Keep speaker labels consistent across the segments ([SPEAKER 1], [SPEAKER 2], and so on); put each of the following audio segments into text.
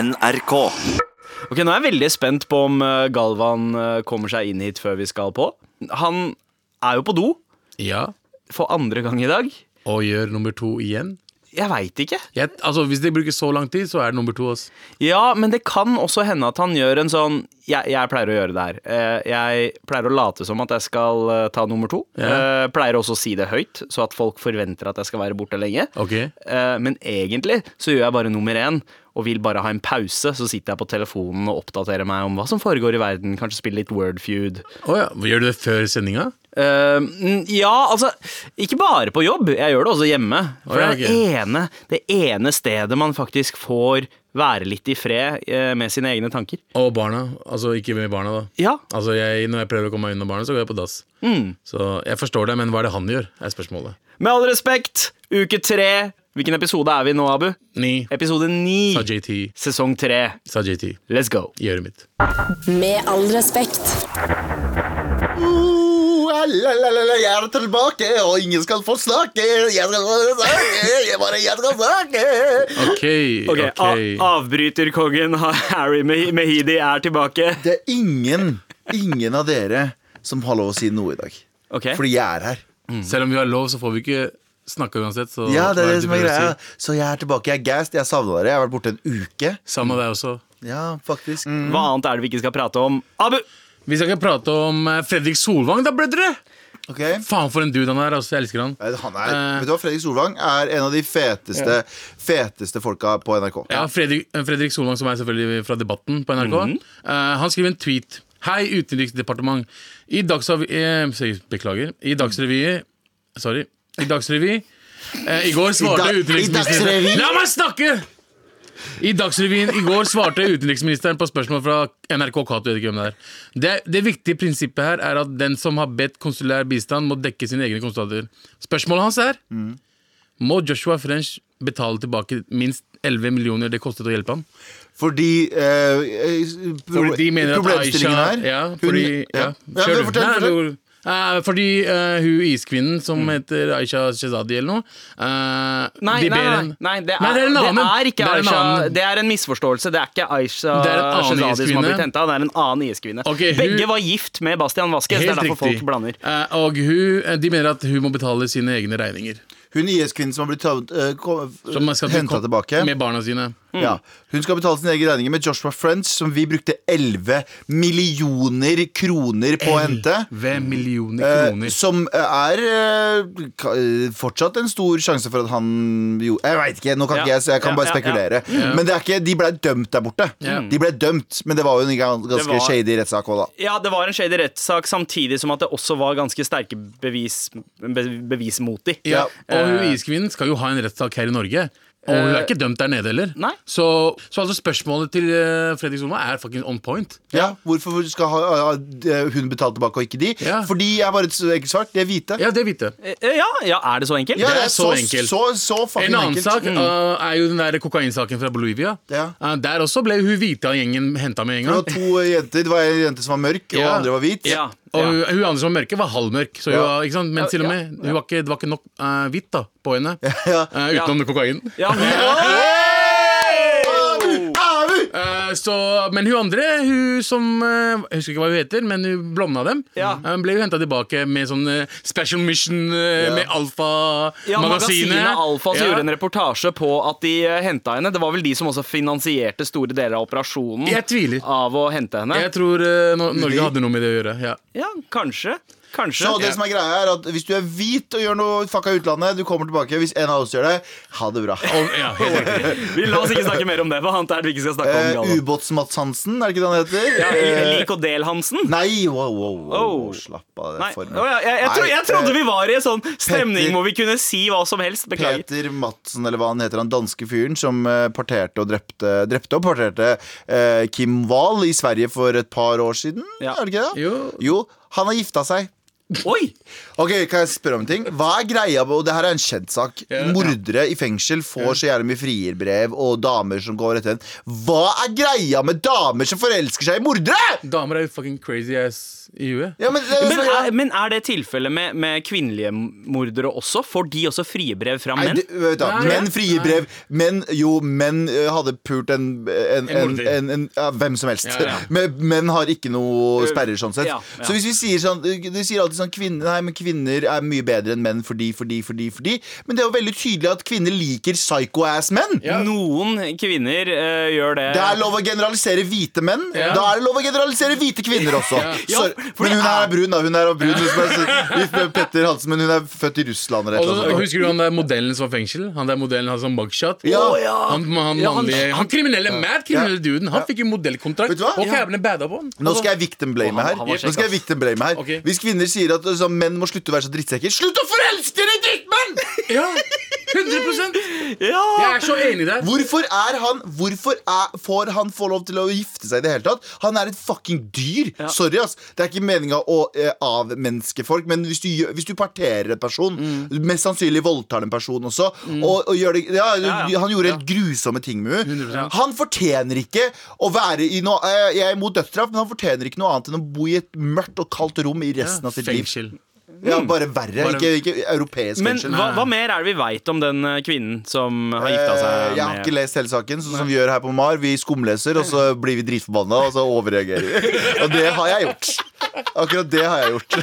[SPEAKER 1] NRK.
[SPEAKER 2] Ok, Nå er jeg veldig spent på om eh, Galvan eh, kommer seg inn hit før vi skal på. Han er jo på do
[SPEAKER 3] Ja,
[SPEAKER 2] for andre gang i dag.
[SPEAKER 3] og gjør nummer to igjen.
[SPEAKER 2] Jeg veit ikke.
[SPEAKER 3] Jeg, altså, hvis de bruker så lang tid, så er det nummer to. Ass.
[SPEAKER 2] Ja, men det kan også hende at han gjør en sånn Jeg, jeg pleier å gjøre det her. Eh, Jeg pleier å late som at jeg skal eh, ta nummer to.
[SPEAKER 3] Ja.
[SPEAKER 2] Eh, Pleier også å si det høyt, så at folk forventer at jeg skal være borte lenge.
[SPEAKER 3] Ok.
[SPEAKER 2] Eh, Men egentlig så gjør jeg bare nummer én og vil bare ha en pause. Så sitter jeg på telefonen og oppdaterer meg om hva som foregår i verden. Kanskje spille litt Wordfeud.
[SPEAKER 3] Å ja. Gjør du det før sendinga?
[SPEAKER 2] Eh, mm, ja, altså Ikke bare på jobb, jeg gjør det også hjemme. For
[SPEAKER 3] Å, ja,
[SPEAKER 2] det, er ene, det ene stedet man faktisk får være litt i fred eh, med sine egne tanker.
[SPEAKER 3] Og barna. Altså ikke med barna, da.
[SPEAKER 2] Ja,
[SPEAKER 3] Altså, jeg, Når jeg prøver å komme meg unna barna, så går jeg på dass.
[SPEAKER 4] Mm.
[SPEAKER 3] Så jeg forstår deg, men hva er det han gjør, er spørsmålet.
[SPEAKER 2] Med all respekt, uke tre. Hvilken episode er vi nå, Abu?
[SPEAKER 3] Ni,
[SPEAKER 2] Episode ni,
[SPEAKER 3] sa JT.
[SPEAKER 2] sesong tre.
[SPEAKER 3] Sa JT.
[SPEAKER 2] Let's go.
[SPEAKER 3] I øret mitt.
[SPEAKER 5] Med all respekt.
[SPEAKER 4] Jeg er tilbake, og ingen skal få snakke. Jeg skal snakke, jeg bare jeg skal snakke.
[SPEAKER 3] OK. ok
[SPEAKER 4] ah,
[SPEAKER 2] Avbryterkongen Harry Mehidi er tilbake.
[SPEAKER 4] Det er ingen, ingen av dere som har lov å si noe i dag.
[SPEAKER 2] Ok,
[SPEAKER 4] Fordi jeg er her.
[SPEAKER 3] Mm. Selv om vi har lov, så får vi ikke snakke uansett. Så
[SPEAKER 4] Ja, det
[SPEAKER 3] hva
[SPEAKER 4] er det
[SPEAKER 3] du
[SPEAKER 4] som er
[SPEAKER 3] prøver å
[SPEAKER 4] greia.
[SPEAKER 3] si?
[SPEAKER 4] Så jeg er tilbake. Jeg er gassed. Jeg savna dere. Jeg har vært borte en uke.
[SPEAKER 3] Samme deg også.
[SPEAKER 4] Ja, faktisk. Mm.
[SPEAKER 2] Hva annet er det vi ikke skal prate om? Abu!
[SPEAKER 3] Vi skal ikke prate om eh, Fredrik Solvang, da, brødre!
[SPEAKER 4] Ok.
[SPEAKER 3] Faen for en dude han er. Altså, jeg elsker han.
[SPEAKER 4] Nei, Han er,
[SPEAKER 3] Eh.
[SPEAKER 4] vet du hva, Fredrik Solvang er en av de feteste, feteste folka på NRK.
[SPEAKER 3] Ja, Fredrik, Fredrik Solvang, som er selvfølgelig fra Debatten på NRK, eh, han skriver en tweet. Hei, Utenriksdepartement. I Dagsav... eh, sorry, beklager. I Dagsrevy Sorry. I Dagsrevy eh, I går svarte
[SPEAKER 4] I da- i
[SPEAKER 3] utenriksministeren
[SPEAKER 4] Dagsrevyen?
[SPEAKER 3] La meg snakke! I Dagsrevyen i går svarte utenriksministeren på spørsmål fra NRK Cato. jeg vet ikke hvem Det er. Det, det viktige prinsippet her er at den som har bedt konsulær bistand, må dekke sine egne kostnader. Spørsmålet hans er må Joshua French betale tilbake minst 11 millioner det kostet å hjelpe ham.
[SPEAKER 4] Fordi eh, eh, pro-
[SPEAKER 3] Fordi de mener at Aisha
[SPEAKER 4] Problemstillingen her
[SPEAKER 3] ja, fordi,
[SPEAKER 4] hun,
[SPEAKER 3] ja.
[SPEAKER 4] ja. Ja,
[SPEAKER 3] Kjør
[SPEAKER 4] men
[SPEAKER 3] du.
[SPEAKER 4] fortell,
[SPEAKER 3] Nei,
[SPEAKER 4] fortell. Mm.
[SPEAKER 3] du- Eh, fordi eh, hun iskvinnen som heter Aisha Shezadi eller noe eh,
[SPEAKER 2] Nei, nei,
[SPEAKER 3] de ber
[SPEAKER 2] nei,
[SPEAKER 3] en-
[SPEAKER 2] nei det, er,
[SPEAKER 3] Nei, det er en annen.
[SPEAKER 2] ikke
[SPEAKER 3] Det er en
[SPEAKER 2] Aisha.
[SPEAKER 3] annen.
[SPEAKER 2] Det er en misforståelse. Det er ikke Aisha
[SPEAKER 3] Det er en annen
[SPEAKER 2] Shehzadi som har blitt
[SPEAKER 3] iskvinne.
[SPEAKER 2] henta. Det er en annen iskvinne.
[SPEAKER 3] Ok, hun-
[SPEAKER 2] Begge var gift med Bastian Vasquez. Det er
[SPEAKER 3] Helt
[SPEAKER 2] derfor
[SPEAKER 3] riktig.
[SPEAKER 2] folk blander.
[SPEAKER 3] Eh, og hun, eh, de mener at hun må betale sine egne regninger.
[SPEAKER 4] Hun IS-kvinnen som har blitt eh,
[SPEAKER 3] Som man skal
[SPEAKER 4] uh, henta tilbake.
[SPEAKER 3] Med barna sine.
[SPEAKER 4] Ja. Hun skal betale sine egne regninger med Joshua French, som vi brukte 11 millioner kroner på å hente.
[SPEAKER 3] Ved millioner
[SPEAKER 4] Eh,
[SPEAKER 3] kroner.
[SPEAKER 4] som eh, er eh, ka- eh, fortsatt en stor sjanse for at han jo, Jeg veit ikke, nå kan
[SPEAKER 2] Ja.
[SPEAKER 4] ikke jeg, så jeg kan
[SPEAKER 2] Ja,
[SPEAKER 4] bare
[SPEAKER 2] ja,
[SPEAKER 4] spekulere. Men det er ikke, de ble dømt der borte.
[SPEAKER 3] Ja.
[SPEAKER 4] De ble dømt, men det var jo en gans-
[SPEAKER 2] Det
[SPEAKER 4] ganske
[SPEAKER 2] var-
[SPEAKER 4] shady rettssak òg, da.
[SPEAKER 2] Ja, det var en shady rettssak, samtidig som at det også var ganske sterke bevis, be, bevis mot de.
[SPEAKER 3] Ja,
[SPEAKER 2] Eh,
[SPEAKER 3] og hun iskvinnen skal jo ha en rettssak her i Norge. Og hun er ikke dømt der nede heller.
[SPEAKER 2] Nei.
[SPEAKER 3] Så, så altså spørsmålet til eh, Fredrik Solvang er fucking on point.
[SPEAKER 4] Ja, hvorfor skal ha, ha, hun betale tilbake og ikke de?
[SPEAKER 3] Ja.
[SPEAKER 4] Fordi jeg er bare et så enkelt svart. Det er hvite.
[SPEAKER 3] Ja, det vite.
[SPEAKER 2] eh, ja, ja, er det så enkelt?
[SPEAKER 4] Ja,
[SPEAKER 3] det er så enkelt.
[SPEAKER 4] Så, så
[SPEAKER 3] En
[SPEAKER 4] fucking
[SPEAKER 3] annen
[SPEAKER 4] enkelt.
[SPEAKER 3] sak eh, er jo den der kokainsaken fra Bolivia.
[SPEAKER 4] Mm. Ja.
[SPEAKER 3] Eh, der også ble hun hvite av gjengen henta med en
[SPEAKER 4] Det
[SPEAKER 3] gang.
[SPEAKER 4] var to eh, jenter. Det var en jente som var mørk, og
[SPEAKER 3] Ja.
[SPEAKER 4] andre var hvit.
[SPEAKER 2] Ja,
[SPEAKER 3] Og hun,
[SPEAKER 2] ja.
[SPEAKER 3] hun andre som var mørke, var halvmørk. Så hun,
[SPEAKER 4] Ja.
[SPEAKER 3] var- ikke sant? Men til og med hun var ikke, det var ikke nok eh, hvitt da, på henne. Eh, utenom kokain.
[SPEAKER 2] Ja, hun,
[SPEAKER 3] Eh, så, men hun andre, hun som eh, Jeg husker ikke hva hun heter, men hun blonda dem.
[SPEAKER 2] Ja.
[SPEAKER 3] eh, ble jo henta tilbake med sånn eh, Special Mission eh,
[SPEAKER 4] Ja.
[SPEAKER 3] med Alfa-magasinet.
[SPEAKER 2] ja, magasinet Alfa som gjorde en reportasje på at de eh, henta henne. Det var vel de som også finansierte store deler av operasjonen
[SPEAKER 3] Jeg tviler.
[SPEAKER 2] av å hente henne.
[SPEAKER 3] Jeg tror eh, Nor- Norge hadde noe med det å gjøre. Ja.
[SPEAKER 2] Ja, kanskje. Kanskje.
[SPEAKER 4] Så det som er greia er at Hvis du er hvit og gjør noe fucka i utlandet, du kommer tilbake. Hvis en av oss gjør det, ha det bra.
[SPEAKER 3] Og, ja, helt riktig.
[SPEAKER 2] Vi La oss ikke snakke mer om det. Hva annet er det vi ikke skal snakke om?
[SPEAKER 4] Eh,
[SPEAKER 2] Galvan?
[SPEAKER 4] Ubåts-Mats Hansen, er det ikke det han heter?
[SPEAKER 2] Ja,
[SPEAKER 4] Eh,
[SPEAKER 2] Lik og del Hansen?
[SPEAKER 4] Nei, wow, wow, wow,
[SPEAKER 2] Oh.
[SPEAKER 4] wow. slapp av.
[SPEAKER 2] Nei.
[SPEAKER 4] Det
[SPEAKER 2] Å, ja, jeg, jeg, tro, jeg trodde vi var i en sånn stemning
[SPEAKER 4] eh, Petter-
[SPEAKER 2] hvor vi kunne si hva som helst. Beklager.
[SPEAKER 4] Peter Madsen, eller hva han heter, han danske fyren som eh, parterte og drepte, drepte og parterte eh, Kim Wahl i Sverige for et par år siden.
[SPEAKER 2] Ja.
[SPEAKER 4] Er det ikke det?
[SPEAKER 3] Jo.
[SPEAKER 4] jo han har gifta seg.
[SPEAKER 2] Oi!
[SPEAKER 4] Ok, Kan jeg spørre om en ting? Hva er greia med Og det her er en kjent sak.
[SPEAKER 3] Ja.
[SPEAKER 4] Mordere i fengsel får så jævlig mye frierbrev, og damer som går etter en Hva er greia med damer som forelsker seg i mordere?!
[SPEAKER 3] Damer er jo fucking crazy ass i huet.
[SPEAKER 4] Ja, men, det er jo
[SPEAKER 2] Men eh,
[SPEAKER 4] sånn-
[SPEAKER 2] er, men er det tilfellet med, med kvinnelige mordere også? Får de også friebrev fra
[SPEAKER 4] Nei,
[SPEAKER 2] menn?
[SPEAKER 4] det- vet du, hva,
[SPEAKER 3] Nei.
[SPEAKER 4] menn frie brev. Menn, jo, menn eh, hadde pult en, en,
[SPEAKER 3] En
[SPEAKER 4] en,
[SPEAKER 3] morder.
[SPEAKER 4] en, en ja, Hvem som helst.
[SPEAKER 3] Ja, ja.
[SPEAKER 4] Men menn har ikke noe sperrer, sånn sett.
[SPEAKER 2] Ja, ja.
[SPEAKER 4] Så hvis vi sier sånn Du sier alltid sånn kvinner, Nei, men kvinner er mye bedre enn menn fordi, fordi, fordi, fordi. Men det er jo veldig tydelig at kvinner liker psycho-ass menn.
[SPEAKER 3] Ja.
[SPEAKER 2] Noen kvinner eh, gjør det.
[SPEAKER 4] Det er lov å generalisere hvite menn.
[SPEAKER 3] Ja.
[SPEAKER 4] Da er det lov å generalisere hvite kvinner også.
[SPEAKER 2] Ja,
[SPEAKER 4] Sorry.
[SPEAKER 2] for- for
[SPEAKER 4] Men
[SPEAKER 2] det
[SPEAKER 4] hun her
[SPEAKER 2] er-
[SPEAKER 4] er brun, da. Hun her er brun hun som er, så- Petter Hansen, men hun er født i Russland eller et
[SPEAKER 3] Og
[SPEAKER 4] eller
[SPEAKER 3] så
[SPEAKER 4] annet.
[SPEAKER 3] Husker du han der modellen som var fengsel? Han der modellen hadde sånn mugshot.
[SPEAKER 4] Ja.
[SPEAKER 2] Å, ja.
[SPEAKER 3] Han, han,
[SPEAKER 2] Ja, han-
[SPEAKER 3] mannlige- han kriminelle, mad kriminelle
[SPEAKER 4] Ja.
[SPEAKER 3] duden, han fikk jo
[SPEAKER 4] Vet
[SPEAKER 3] modellkontrakt.
[SPEAKER 4] du hva?
[SPEAKER 3] Og kævene bada på han.
[SPEAKER 4] Nå skal jeg victim blame
[SPEAKER 2] Altså, han- han
[SPEAKER 4] her.
[SPEAKER 2] var
[SPEAKER 4] Nå
[SPEAKER 2] kjekk,
[SPEAKER 4] skal jeg victim blame her
[SPEAKER 3] Ok.
[SPEAKER 4] Hvis kvinner sier at altså, menn må slutte å være så drittsekker Slutt å forelske dere i drittmenn!
[SPEAKER 3] Ja, 100 Jeg
[SPEAKER 2] Ja!
[SPEAKER 3] er så enig der.
[SPEAKER 4] Hvorfor er han Hvorfor er, får han få lov til å gifte seg i det hele tatt? Han er et fucking dyr.
[SPEAKER 2] Ja.
[SPEAKER 4] Sorry, ass. Det er ikke meninga å eh, avmenneske folk, men hvis du, gjør- hvis du parterer en person,
[SPEAKER 2] Mm.
[SPEAKER 4] mest sannsynlig voldtar en person også, og, og gjør det ja,
[SPEAKER 2] Ja, ja.
[SPEAKER 4] Han gjorde helt grusomme ting med henne. Han fortjener ikke å være i noe eh, Jeg er imot dødsstraff, men han fortjener ikke noe annet enn å bo i et mørkt og kaldt rom i resten av sitt liv.
[SPEAKER 3] Fengsel.
[SPEAKER 4] Ja, bare verre.
[SPEAKER 3] Bare-
[SPEAKER 4] Ikke, ikke europeisk
[SPEAKER 2] Mm. Men
[SPEAKER 4] fengsel.
[SPEAKER 2] hva, hva mer er det vi veit om den eh, kvinnen som har gifta
[SPEAKER 4] Eh,
[SPEAKER 2] seg
[SPEAKER 4] Jeg har ikke
[SPEAKER 2] med
[SPEAKER 4] lest hele saken, sånn som vi gjør her på MAR. Vi skumleser, og så blir vi dritforbanna, og så overreagerer vi. Og det har jeg gjort. Akkurat det har jeg gjort.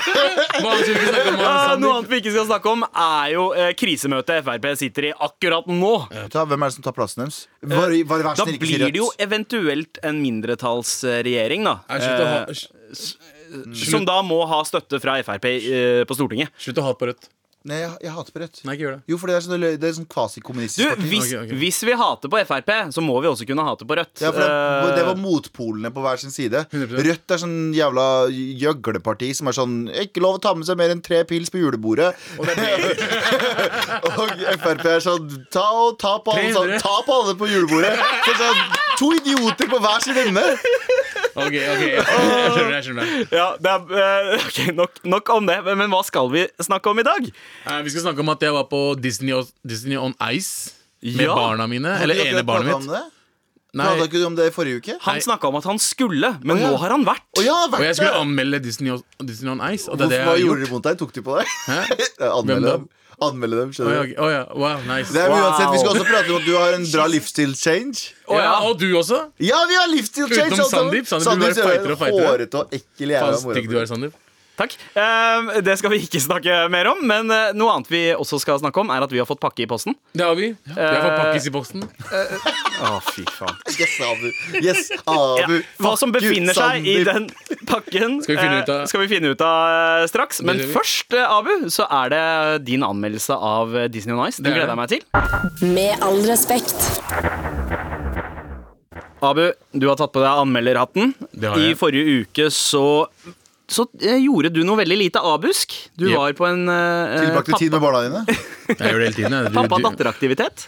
[SPEAKER 3] Hva annet skal vi snakke om,
[SPEAKER 2] Ah, Noe
[SPEAKER 3] Sander?
[SPEAKER 2] annet vi ikke skal snakke om, er jo eh, krisemøtet Frp sitter i akkurat nå.
[SPEAKER 4] Ta, hvem er det som tar plassen deres? Bare, bare vær
[SPEAKER 2] Da
[SPEAKER 4] snill, ikke si
[SPEAKER 2] blir det jo
[SPEAKER 4] rødt.
[SPEAKER 2] eventuelt en mindretallsregjering, da.
[SPEAKER 3] Nei, Slutt å ha-
[SPEAKER 2] eh,
[SPEAKER 3] slutt-
[SPEAKER 2] som da må ha støtte fra Frp eh, på Stortinget.
[SPEAKER 3] slutt å hate på Rødt.
[SPEAKER 4] Nei, jeg, jeg hater på rødt.
[SPEAKER 3] Nei, ikke gjør det.
[SPEAKER 4] Jo, for det er sånn, det er sånn
[SPEAKER 2] Du,
[SPEAKER 4] kvasikommunistisk parti.
[SPEAKER 2] hvis,
[SPEAKER 3] Ok, ok.
[SPEAKER 2] hvis vi hater på Frp, så må vi også kunne hate på Rødt.
[SPEAKER 4] Ja, for det,
[SPEAKER 2] Eh,
[SPEAKER 4] det var motpolene på hver sin side.
[SPEAKER 3] 100%.
[SPEAKER 4] Rødt er sånn jævla gjøgleparti som er sånn Ikke lov å ta med seg mer enn tre pils på julebordet. Og, Frp er sånn Ta, og ta, på, alle, sånn,
[SPEAKER 3] 300.
[SPEAKER 4] ta på alle på julebordet. Så sånn, to idioter på hver sin ende.
[SPEAKER 3] Ok, ok, jeg skjønner det. jeg skjønner det
[SPEAKER 2] ja, det er, eh, ok, nok, nok om det, men hva skal vi snakke om i dag?
[SPEAKER 3] Eh, Vi skal snakke om at jeg var på Disney, Disney on Ice med
[SPEAKER 2] Ja.
[SPEAKER 3] barna mine.
[SPEAKER 4] Hadde
[SPEAKER 3] Eller
[SPEAKER 4] dere
[SPEAKER 3] ene barnet
[SPEAKER 4] pratet om
[SPEAKER 3] mitt.
[SPEAKER 4] det?
[SPEAKER 3] Nei,
[SPEAKER 4] Prata ikke du om det i forrige uke?
[SPEAKER 2] Han
[SPEAKER 3] Nei.
[SPEAKER 2] snakka om at han skulle, men
[SPEAKER 4] Å, ja.
[SPEAKER 2] nå har han vært.
[SPEAKER 4] Å ja, vært
[SPEAKER 3] og jeg skulle
[SPEAKER 4] det.
[SPEAKER 3] anmelde Disney, on- Disney on Ice. Og det er
[SPEAKER 4] Hvorfor,
[SPEAKER 3] det jeg
[SPEAKER 4] Hva
[SPEAKER 3] har
[SPEAKER 4] gjorde
[SPEAKER 3] gjort.
[SPEAKER 4] de mot deg? Tok de på deg?
[SPEAKER 3] Hæ? Hvem
[SPEAKER 4] Anmelde
[SPEAKER 3] da?
[SPEAKER 4] dem. Anmelde dem,
[SPEAKER 3] Å
[SPEAKER 4] skjønner
[SPEAKER 3] ja, ok.
[SPEAKER 4] du.
[SPEAKER 3] Å ja, wow, nice.
[SPEAKER 4] Det er,
[SPEAKER 2] Wow.
[SPEAKER 4] uansett, Vi skal også prate om at du har en bra livsstil-change.
[SPEAKER 2] Å,
[SPEAKER 3] ja,
[SPEAKER 2] ja.
[SPEAKER 3] og du også?
[SPEAKER 4] Ja, vi har livsstil change
[SPEAKER 3] Utenom
[SPEAKER 4] altså.
[SPEAKER 3] Sandeep. Sandeep blir bare
[SPEAKER 4] ser
[SPEAKER 3] fightere og fightere.
[SPEAKER 4] Hårete og ekkel
[SPEAKER 3] Faen,
[SPEAKER 4] jævla
[SPEAKER 3] stygg du er, Sandeep.
[SPEAKER 2] Takk. Eh, det skal vi ikke snakke mer om, men eh, noe annet vi også skal snakke om, er at vi har fått pakke i posten.
[SPEAKER 3] Det har vi. Jeg får pakkis i boksen.
[SPEAKER 2] Å, fy faen.
[SPEAKER 4] Yes, Abu. Yes, Abu.
[SPEAKER 2] Hva som
[SPEAKER 4] Fuck you,
[SPEAKER 2] befinner seg i
[SPEAKER 4] Sandeep.
[SPEAKER 2] den pakken,
[SPEAKER 3] Skal vi finne ut av-
[SPEAKER 2] eh, skal vi finne ut av eh, straks. Men
[SPEAKER 3] gjør vi.
[SPEAKER 2] først, eh, Abu, så er det din anmeldelse av eh, Disney on Ice. Den
[SPEAKER 3] Det er
[SPEAKER 2] gleder jeg meg til.
[SPEAKER 5] Med all respekt.
[SPEAKER 2] Abu, du har tatt på deg anmelderhatten.
[SPEAKER 3] Det har
[SPEAKER 2] I
[SPEAKER 3] jeg.
[SPEAKER 2] forrige uke så så eh, gjorde du noe veldig lite abusk. Du
[SPEAKER 3] Yep.
[SPEAKER 2] var på en eh,
[SPEAKER 4] Tilbrakte tid med barna dine?
[SPEAKER 3] Jeg gjør det hele tiden. jeg. Du- du-
[SPEAKER 2] pappa-datter-aktivitet.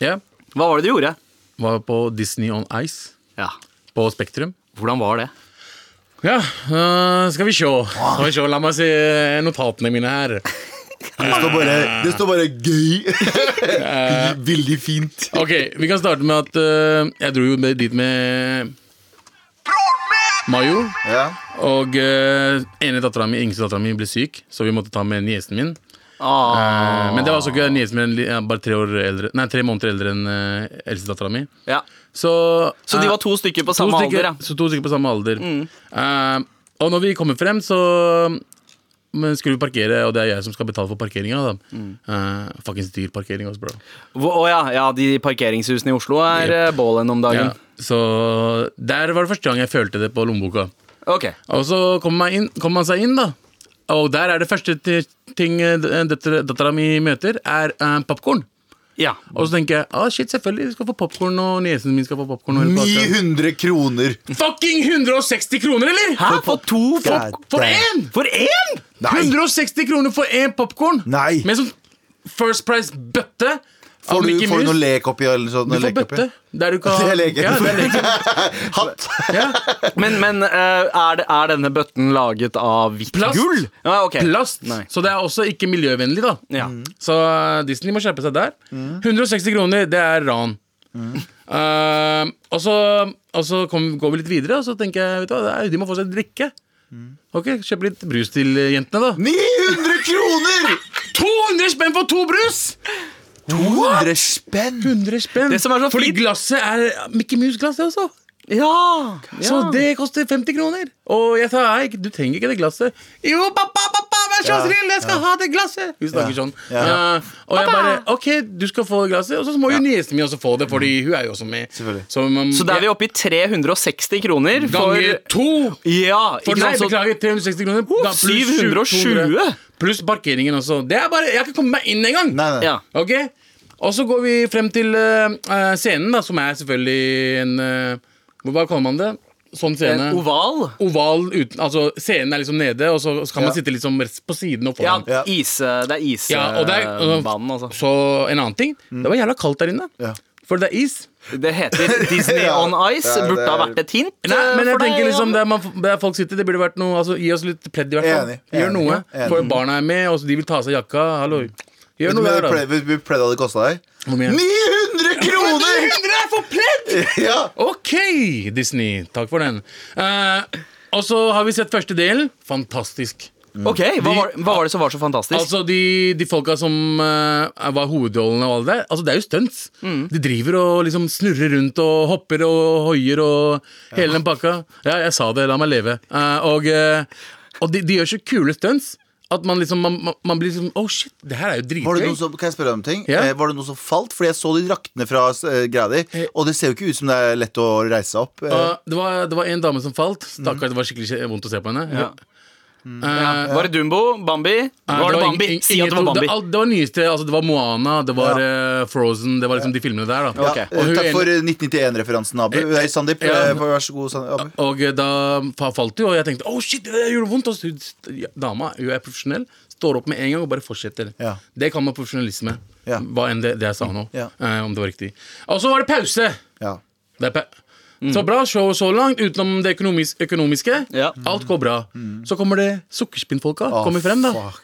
[SPEAKER 3] Ja.
[SPEAKER 2] Hva var det du gjorde?
[SPEAKER 3] Var på Disney on Ice
[SPEAKER 2] Ja,
[SPEAKER 3] på Spektrum.
[SPEAKER 2] Hvordan var det?
[SPEAKER 3] Ja, øh, skal vi sjå. Skal vi sjå. La meg se notatene mine her.
[SPEAKER 4] Det står bare, det står bare 'gøy'. Veldig fint.
[SPEAKER 3] Ok, Vi kan starte med at øh, jeg dro jo med- dit med Major.
[SPEAKER 4] Ja.
[SPEAKER 3] Og øh, ene dattera mi, yngste dattera mi ble syk, så vi måtte ta med niesen min.
[SPEAKER 2] Ah,
[SPEAKER 3] Eh, men det var så gøy. Niesen min er li- bare tre, år eldre, nei, tre måneder eldre enn uh, eldstedattera mi.
[SPEAKER 2] Ja.
[SPEAKER 3] Så,
[SPEAKER 2] Så de
[SPEAKER 3] eh,
[SPEAKER 2] var to stykker på samme
[SPEAKER 3] to stykker,
[SPEAKER 2] alder, ja. Mm.
[SPEAKER 3] Så to stykker på samme alder. Eh, og når vi kommer frem, så men skulle vi parkere, og det er jeg som skal betale for parkeringa. Mm. Fuckings dyr parkering også, bro.
[SPEAKER 2] Hvor- Å ja, ja, de parkeringshusene i Oslo er eh, bålen om
[SPEAKER 3] Ja,
[SPEAKER 2] dagen.
[SPEAKER 3] så der var det første gang jeg følte det på lommeboka.
[SPEAKER 2] Ok.
[SPEAKER 3] Og så kom man, inn, kom man seg inn, da. Og der er det første ti- ting eh, datter- dattera mi møter, er uh, popkorn.
[SPEAKER 2] Ja.
[SPEAKER 3] Og så tenker jeg ah, shit, selvfølgelig, du skal få popkorn, og niesen min skal få popkorn.
[SPEAKER 4] 900 kroner.
[SPEAKER 3] Fucking 160 kroner, eller?!
[SPEAKER 2] Hæ? For to?
[SPEAKER 4] God
[SPEAKER 2] For,
[SPEAKER 3] For
[SPEAKER 4] damn.
[SPEAKER 3] én!
[SPEAKER 2] for én?!
[SPEAKER 4] Nei.
[SPEAKER 3] 160 kroner for én popkorn!
[SPEAKER 4] Nei.
[SPEAKER 3] Med sånn First Price-bøtte.
[SPEAKER 4] Får du,
[SPEAKER 3] Mickey
[SPEAKER 4] får du
[SPEAKER 3] Mouse?
[SPEAKER 4] noe lek oppi? Eller noe sånt,
[SPEAKER 3] Du
[SPEAKER 4] noe
[SPEAKER 3] får
[SPEAKER 4] lek oppi?
[SPEAKER 3] bøtte. Der du kan
[SPEAKER 4] Det er leken.
[SPEAKER 3] Ja, det er leken.
[SPEAKER 4] Hatt!
[SPEAKER 3] Ja.
[SPEAKER 2] Men, men eh, er, det, er denne bøtten laget av hvitt
[SPEAKER 3] Plast.
[SPEAKER 2] gull? Ja, ok.
[SPEAKER 3] Plast.
[SPEAKER 2] Nei.
[SPEAKER 3] Så det er også ikke miljøvennlig, da.
[SPEAKER 2] Ja.
[SPEAKER 3] Så eh, Disney må skjerpe seg der. 160 kroner, det er ran. Eh, og så, og så kom, går vi litt videre, og så tenker jeg vet du hva, det er- de må få seg drikke. Ok, Kjøp litt brus til eh, jentene, da.
[SPEAKER 4] 900 kroner!
[SPEAKER 3] 200 spenn for to brus!
[SPEAKER 4] 200 spenn!
[SPEAKER 3] 100 spenn
[SPEAKER 2] Det som er så
[SPEAKER 3] Fordi
[SPEAKER 2] fint-
[SPEAKER 3] glasset er Mickey Mouse-glass, det også.
[SPEAKER 2] Ja,
[SPEAKER 3] Så
[SPEAKER 2] ja.
[SPEAKER 3] det koster 50 kroner. Og jeg sa nei, du trenger ikke det glasset. Jo, pappa, pappa, vær så
[SPEAKER 4] Ja,
[SPEAKER 3] snill, jeg skal ha det glasset! Hun snakker
[SPEAKER 4] Ja,
[SPEAKER 3] sånn.
[SPEAKER 4] ja.
[SPEAKER 3] Eh, og jeg bare OK, du skal få glasset, og så må jo niesen min også få det, Fordi hun er jo også med.
[SPEAKER 4] Selvfølgelig.
[SPEAKER 3] Så, man-
[SPEAKER 2] Så da er vi oppe i 360 kroner for
[SPEAKER 3] Ganger to!
[SPEAKER 2] Ja,
[SPEAKER 3] For
[SPEAKER 2] ikke
[SPEAKER 3] nei,
[SPEAKER 2] sant? Så-
[SPEAKER 3] beklager, 360 kroner. da pluss
[SPEAKER 2] 720.
[SPEAKER 3] 200. Pluss parkeringen også. Det er bare, Jeg har ikke kommet meg inn engang!
[SPEAKER 4] Nei, nei.
[SPEAKER 2] Ja.
[SPEAKER 3] Ok, og så går vi frem til eh, eh, scenen da, som er selvfølgelig en eh, hvor- Hva kaller man det? Sånn scene.
[SPEAKER 2] En oval.
[SPEAKER 3] Oval uten, altså Scenen er liksom nede, og så skal man
[SPEAKER 4] Ja.
[SPEAKER 3] sitte liksom rett på siden og
[SPEAKER 2] Ja,
[SPEAKER 3] foran.
[SPEAKER 4] Ja.
[SPEAKER 2] Ise, det er
[SPEAKER 3] Ja, og det er, øh,
[SPEAKER 2] isbanen, altså.
[SPEAKER 3] Så en annen ting. Det var jævla kaldt der inne.
[SPEAKER 4] Mm. Ja.
[SPEAKER 3] For det er is.
[SPEAKER 2] Det heter Disney
[SPEAKER 4] Ja,
[SPEAKER 2] on Ice.
[SPEAKER 4] det er-
[SPEAKER 2] Burde
[SPEAKER 4] det
[SPEAKER 2] ha
[SPEAKER 4] er-
[SPEAKER 2] vært et hint.
[SPEAKER 3] Nei,
[SPEAKER 2] eh,
[SPEAKER 3] men jeg
[SPEAKER 2] for deg,
[SPEAKER 3] tenker liksom
[SPEAKER 2] Jan.
[SPEAKER 3] der, man, der folk sitter, det burde vært noe altså, Gi oss litt pledd, i hvert fall.
[SPEAKER 4] Enig,
[SPEAKER 3] Gjør
[SPEAKER 4] enig,
[SPEAKER 3] noe.
[SPEAKER 4] ja, enig.
[SPEAKER 3] For barna er med, og så de vil ta av seg jakka. Hallo. Gjør
[SPEAKER 4] Vet du
[SPEAKER 3] noe. der,
[SPEAKER 4] hva
[SPEAKER 3] da.
[SPEAKER 4] det pleide hadde kosta deg?
[SPEAKER 3] Hvor mye?
[SPEAKER 4] 900 kroner!
[SPEAKER 3] 100 er for pledd!
[SPEAKER 4] Ja!
[SPEAKER 3] Ok, Disney. Takk for den. Eh, og så har vi sett første delen. Fantastisk.
[SPEAKER 2] Ok, hva var, hva var det som var så fantastisk?
[SPEAKER 3] Altså De, de folka som eh, var hovedrollene og alt det der, altså det er jo stunts.
[SPEAKER 2] Mm.
[SPEAKER 3] De driver og liksom snurrer rundt og hopper og hoier og hele den pakka. Ja, jeg sa det. La meg leve. Eh, og eh, og de, de gjør så kule stunts at man liksom Man, man- man blir liksom Å, shit, det her er jo
[SPEAKER 4] Var det
[SPEAKER 3] dritgøy.
[SPEAKER 4] noe som, kan jeg spørre deg om en ting?
[SPEAKER 3] Ja.
[SPEAKER 4] Eh, var det noe som falt? Fordi jeg så de raktene fra eh, greia di, og det ser jo ikke ut som det er lett å reise seg opp. Eh,
[SPEAKER 3] Og det, var, det var en dame som falt. Stakkar, det var skikkelig kje- vondt å se på henne.
[SPEAKER 2] Ja.
[SPEAKER 3] Eh,
[SPEAKER 2] Ja. Var det Dumbo? Bambi?
[SPEAKER 3] Nei,
[SPEAKER 2] Var det
[SPEAKER 3] ing-
[SPEAKER 2] Bambi?
[SPEAKER 3] ing-
[SPEAKER 2] Si at det
[SPEAKER 3] ingen-
[SPEAKER 2] var Bambi.
[SPEAKER 3] Det, alt- det var nyeste, altså det var Moana, det var eh, Frozen, det var liksom de filmene der. da
[SPEAKER 4] ja.
[SPEAKER 2] ok.
[SPEAKER 4] eh,
[SPEAKER 3] Og hun
[SPEAKER 4] Takk
[SPEAKER 3] ene-
[SPEAKER 4] for eh, 1991-referansen, Abu. Nei, Sandeep.
[SPEAKER 3] Ja.
[SPEAKER 4] eh, Vær så god, Sandeep. Abu.
[SPEAKER 3] Og eh, da fa- falt det jo, og jeg tenkte oh, shit, det der gjorde vondt. Og så hun- ja, dama hun er profesjonell, står opp med en gang og bare fortsetter.
[SPEAKER 4] Ja.
[SPEAKER 3] Det kan man profesjonalisme.
[SPEAKER 4] Ja.
[SPEAKER 3] Hva enn det, det jeg sa nå.
[SPEAKER 4] Ja.
[SPEAKER 3] eh, om det var riktig. Og så var det pause!
[SPEAKER 4] Ja.
[SPEAKER 3] Det er pa
[SPEAKER 4] Mm.
[SPEAKER 3] Så bra show så langt, utenom det økonomis økonomiske.
[SPEAKER 2] Ja.
[SPEAKER 3] Alt går bra.
[SPEAKER 4] Mm.
[SPEAKER 3] Så kommer det sukkerspinnfolka. kommer frem, da.
[SPEAKER 4] fuck.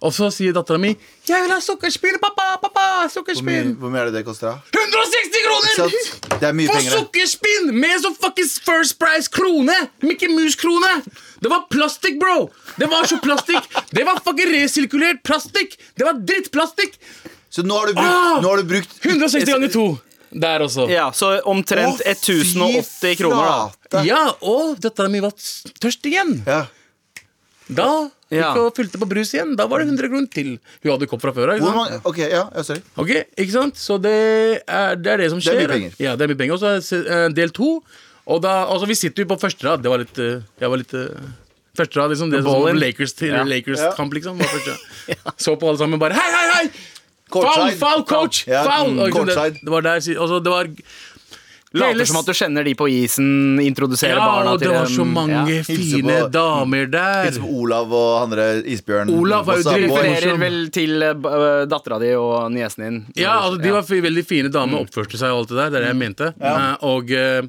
[SPEAKER 3] Og så sier dattera mi 'Jeg vil ha sukkerspinn, pappa! pappa,
[SPEAKER 4] Hvor mye,
[SPEAKER 3] sukkerspinn!'
[SPEAKER 4] hvor mye er det det koster? da?
[SPEAKER 3] 160
[SPEAKER 4] Ikke
[SPEAKER 3] kroner!
[SPEAKER 4] sant? Det er mye
[SPEAKER 3] For
[SPEAKER 4] penger. det.
[SPEAKER 3] sukkerspinn med sånn fuckings First Price-krone! Mickey Mouse-krone! Det var plastikk, bro! Det var så plastikk! Det var fucking resirkulert plastikk! Det var drittplastikk!
[SPEAKER 4] Så nå har du brukt,
[SPEAKER 3] Ah!
[SPEAKER 4] nå har du brukt
[SPEAKER 3] 160 ganger to. Der også.
[SPEAKER 2] Ja, Så omtrent
[SPEAKER 4] Å, fy
[SPEAKER 2] 1080 kroner, da.
[SPEAKER 4] flate.
[SPEAKER 3] Ja, og dattera mi var s- tørst igjen.
[SPEAKER 4] Ja.
[SPEAKER 3] Da gikk
[SPEAKER 2] Ja.
[SPEAKER 3] og fylte på brus igjen. Da var det 100 kroner til. Hun hadde kopp fra før av. ikke
[SPEAKER 4] Hvor
[SPEAKER 3] sant?
[SPEAKER 4] mange Ok, ja, ja, sorry.
[SPEAKER 3] Ok, ikke sant? Så det er det, er det som
[SPEAKER 4] er
[SPEAKER 3] skjer.
[SPEAKER 4] mye penger.
[SPEAKER 3] Ja, det er mye penger. Og så er det se- eh, del to. Og da, altså, vi sitter jo på første rad. Det var litt, eh, jeg var litt eh, Første rad, liksom. Det er sånn
[SPEAKER 2] Ballin.
[SPEAKER 3] Lakers til
[SPEAKER 2] Ja.
[SPEAKER 3] Lakers kamp, liksom. Var første. Så på alle sammen bare Hei, hei, hei! Foul,
[SPEAKER 4] Courtside.
[SPEAKER 3] foul, coach!
[SPEAKER 4] Ja,
[SPEAKER 3] Foul!
[SPEAKER 4] mm,
[SPEAKER 3] Og liksom, det,
[SPEAKER 4] courtside.
[SPEAKER 3] det var der si- altså, det var
[SPEAKER 2] Later som at du kjenner de på isen, introduserer barna
[SPEAKER 3] og
[SPEAKER 2] til
[SPEAKER 3] det var så
[SPEAKER 2] dem.
[SPEAKER 3] mange
[SPEAKER 2] Ja.
[SPEAKER 3] fine
[SPEAKER 4] på-
[SPEAKER 3] damer der.
[SPEAKER 4] Litt som Olav og han der isbjørnen.
[SPEAKER 3] Olav var jo
[SPEAKER 4] Bossa Boy.
[SPEAKER 3] driver-
[SPEAKER 2] Refererer vel til uh, dattera di og niesen din.
[SPEAKER 3] Ja, altså, de var fi- veldig fine damer,
[SPEAKER 4] Mm.
[SPEAKER 3] oppførte seg og alt det der. Det er det jeg mente. Eh, og, eh,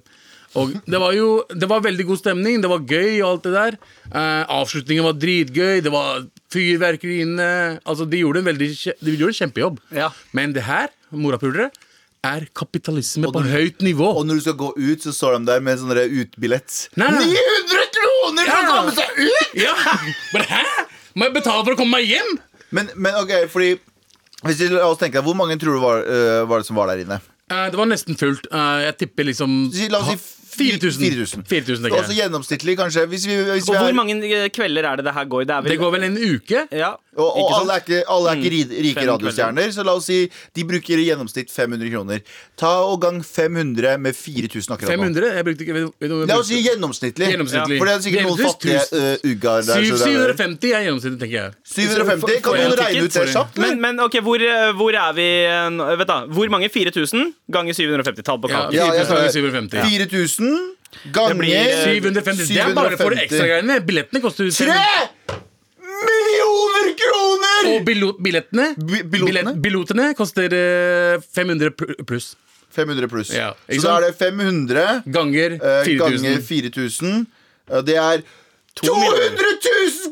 [SPEAKER 3] og det var jo Det var veldig god stemning, det var gøy og alt det der. Eh, avslutningen var dritgøy, det var fyrverkeri inne. Altså, de gjorde en veldig kje- De gjorde en kjempejobb.
[SPEAKER 2] Ja.
[SPEAKER 3] Men det her, morapulere, er kapitalisme på høyt nivå.
[SPEAKER 4] Og når du skal gå ut, så står de der med sånn der utbillett.
[SPEAKER 3] Nei, nei.
[SPEAKER 4] 900 kroner for å
[SPEAKER 3] Ja.
[SPEAKER 4] komme seg ut!
[SPEAKER 3] ja. Men hæ?! Må jeg betale for å komme meg hjem?!
[SPEAKER 4] Men, men ok, fordi hvis vi, la oss tenke, Hvor mange tror du var, øh, var det som var der inne?
[SPEAKER 3] Eh, det var nesten fullt. Eh, jeg tipper liksom
[SPEAKER 4] Si- La oss si
[SPEAKER 3] 4000. 4000
[SPEAKER 4] 4000. Så
[SPEAKER 3] tenker
[SPEAKER 4] Altså
[SPEAKER 3] jeg.
[SPEAKER 4] gjennomsnittlig, kanskje. Hvis vi, hvis
[SPEAKER 2] Og
[SPEAKER 4] vi
[SPEAKER 2] hvor
[SPEAKER 4] er,
[SPEAKER 2] mange eh, kvelder er det det her går i? Det, er vel,
[SPEAKER 3] Det går vel en uke?
[SPEAKER 2] ja.
[SPEAKER 4] og, og
[SPEAKER 2] Ikke sant?
[SPEAKER 4] alle er ikke, alle er ikke ri- rike
[SPEAKER 2] Fem
[SPEAKER 4] radiostjerner, så la oss si de bruker i gjennomsnitt 500 kroner. Ta og gang 500 med 4000 akkurat nå.
[SPEAKER 3] 500? Jeg brukte ikke vet, vet du hva jeg
[SPEAKER 4] La oss
[SPEAKER 3] brukte?
[SPEAKER 4] si gjennomsnittlig.
[SPEAKER 3] Gjennomsnittlig.
[SPEAKER 4] For det er sikkert noen
[SPEAKER 3] Gjennomsnittlig
[SPEAKER 4] fattige øh, uggar der.
[SPEAKER 3] Syv-
[SPEAKER 4] så det er-
[SPEAKER 3] 750 er gjennomsnittet, tenker jeg.
[SPEAKER 4] 750?
[SPEAKER 2] Får jeg
[SPEAKER 4] Kan noen
[SPEAKER 2] ticket?
[SPEAKER 4] regne ut det
[SPEAKER 3] Sorry.
[SPEAKER 4] kjapt? eller?
[SPEAKER 2] Men, men ok, hvor, eh, hvor er vi eh, nå? Vet da, Hvor mange 4000 ganger 750? Tall på
[SPEAKER 3] Ja,
[SPEAKER 2] kalken.
[SPEAKER 4] Ja, jeg
[SPEAKER 3] 4000
[SPEAKER 4] sa-
[SPEAKER 3] ganger 750.
[SPEAKER 4] 4000 ganger
[SPEAKER 2] blir, eh,
[SPEAKER 3] 750. Det er bare for
[SPEAKER 4] 750.
[SPEAKER 3] ekstragreiene. Billettene koster jo
[SPEAKER 4] Tre millioner kroner! kroner!
[SPEAKER 3] Og bilo- billettene
[SPEAKER 4] Bi- bilotene?
[SPEAKER 3] billett- bilotene koster eh, 500 pl- pluss.
[SPEAKER 4] 500 pluss.
[SPEAKER 3] Ja, ikke
[SPEAKER 4] så da
[SPEAKER 3] sant?
[SPEAKER 4] er det 500
[SPEAKER 3] Ganger
[SPEAKER 4] eh,
[SPEAKER 3] 4000.
[SPEAKER 4] ganger 4000. Eh, Det er
[SPEAKER 2] To
[SPEAKER 4] 200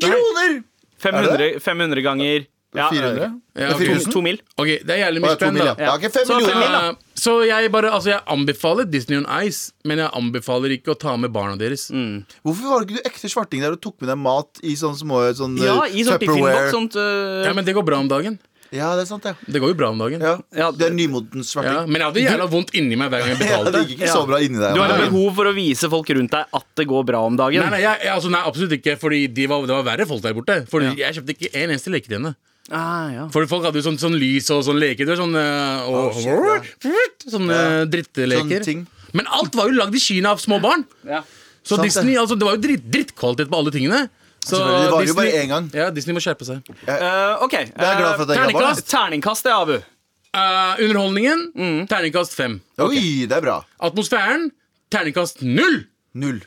[SPEAKER 4] 000 kroner!
[SPEAKER 2] 500, 500 ganger ja,
[SPEAKER 4] 400?
[SPEAKER 3] Ja,
[SPEAKER 4] Det er
[SPEAKER 3] ok.
[SPEAKER 2] To,
[SPEAKER 4] 4000?
[SPEAKER 2] to mil.
[SPEAKER 3] Ok, det er jævlig
[SPEAKER 4] Å,
[SPEAKER 3] mye
[SPEAKER 4] ja, to
[SPEAKER 3] spenn,
[SPEAKER 4] mil, ja.
[SPEAKER 3] da.
[SPEAKER 4] Ja, ikke fem
[SPEAKER 3] Så,
[SPEAKER 4] millioner.
[SPEAKER 3] eh, så jeg bare Altså, jeg anbefaler Disney on Ice, men jeg anbefaler ikke å ta med barna deres.
[SPEAKER 4] Mm. Hvorfor var ikke du ekte svarting der og tok med deg mat i sånne små sånn,
[SPEAKER 2] Ja,
[SPEAKER 4] eh,
[SPEAKER 2] i sånn
[SPEAKER 4] Tupperware?
[SPEAKER 2] Tiffin-boks. Sånt øh,
[SPEAKER 3] Ja, men det går bra om dagen.
[SPEAKER 4] Ja, det er sant, ja.
[SPEAKER 3] Det går jo bra om dagen.
[SPEAKER 4] ja.
[SPEAKER 2] Ja,
[SPEAKER 4] det er nymodens
[SPEAKER 3] Ja,
[SPEAKER 4] svarting.
[SPEAKER 3] men jeg hadde jævla vondt inni meg hver gang jeg
[SPEAKER 4] Ja, det
[SPEAKER 3] betalte.
[SPEAKER 4] gikk ikke så
[SPEAKER 2] Ja.
[SPEAKER 4] bra inni deg.
[SPEAKER 2] Du har
[SPEAKER 4] men-
[SPEAKER 2] et behov for å vise folk rundt deg at det går bra om dagen.
[SPEAKER 3] Nei, nei, jeg, jeg, altså, nei, absolutt ikke, Fordi de var, det var verre folk der borte. Fordi Jeg kjøpte ikke en eneste leke til henne.
[SPEAKER 2] Ah, ja.
[SPEAKER 3] For folk hadde jo sånn, sånn lys og sånn leker. du vet, Sånn, eh, og,
[SPEAKER 4] Ah, shit, ja.
[SPEAKER 3] Fruit, sånne
[SPEAKER 4] Ja.
[SPEAKER 3] dritteleker.
[SPEAKER 4] Sånne ting.
[SPEAKER 3] Men alt var jo lagd i Kina av små barn.
[SPEAKER 2] Ja.
[SPEAKER 3] Så
[SPEAKER 4] Sant det.
[SPEAKER 3] Disney, altså, det var jo dritt, drittkvalitet på alle tingene. Så
[SPEAKER 4] Selvfølgelig, det varer jo
[SPEAKER 3] Disney-
[SPEAKER 4] bare én gang.
[SPEAKER 3] Ja, Disney må skjerpe seg.
[SPEAKER 2] Eh, ok.
[SPEAKER 4] Jeg er glad for at jeg ikke var
[SPEAKER 2] terningkast, terningkast, ja, Abu.
[SPEAKER 3] Eh, underholdningen
[SPEAKER 4] Mm.
[SPEAKER 3] terningkast fem.
[SPEAKER 4] der. Oi, det er bra.
[SPEAKER 3] Atmosfæren terningkast null.
[SPEAKER 4] Null.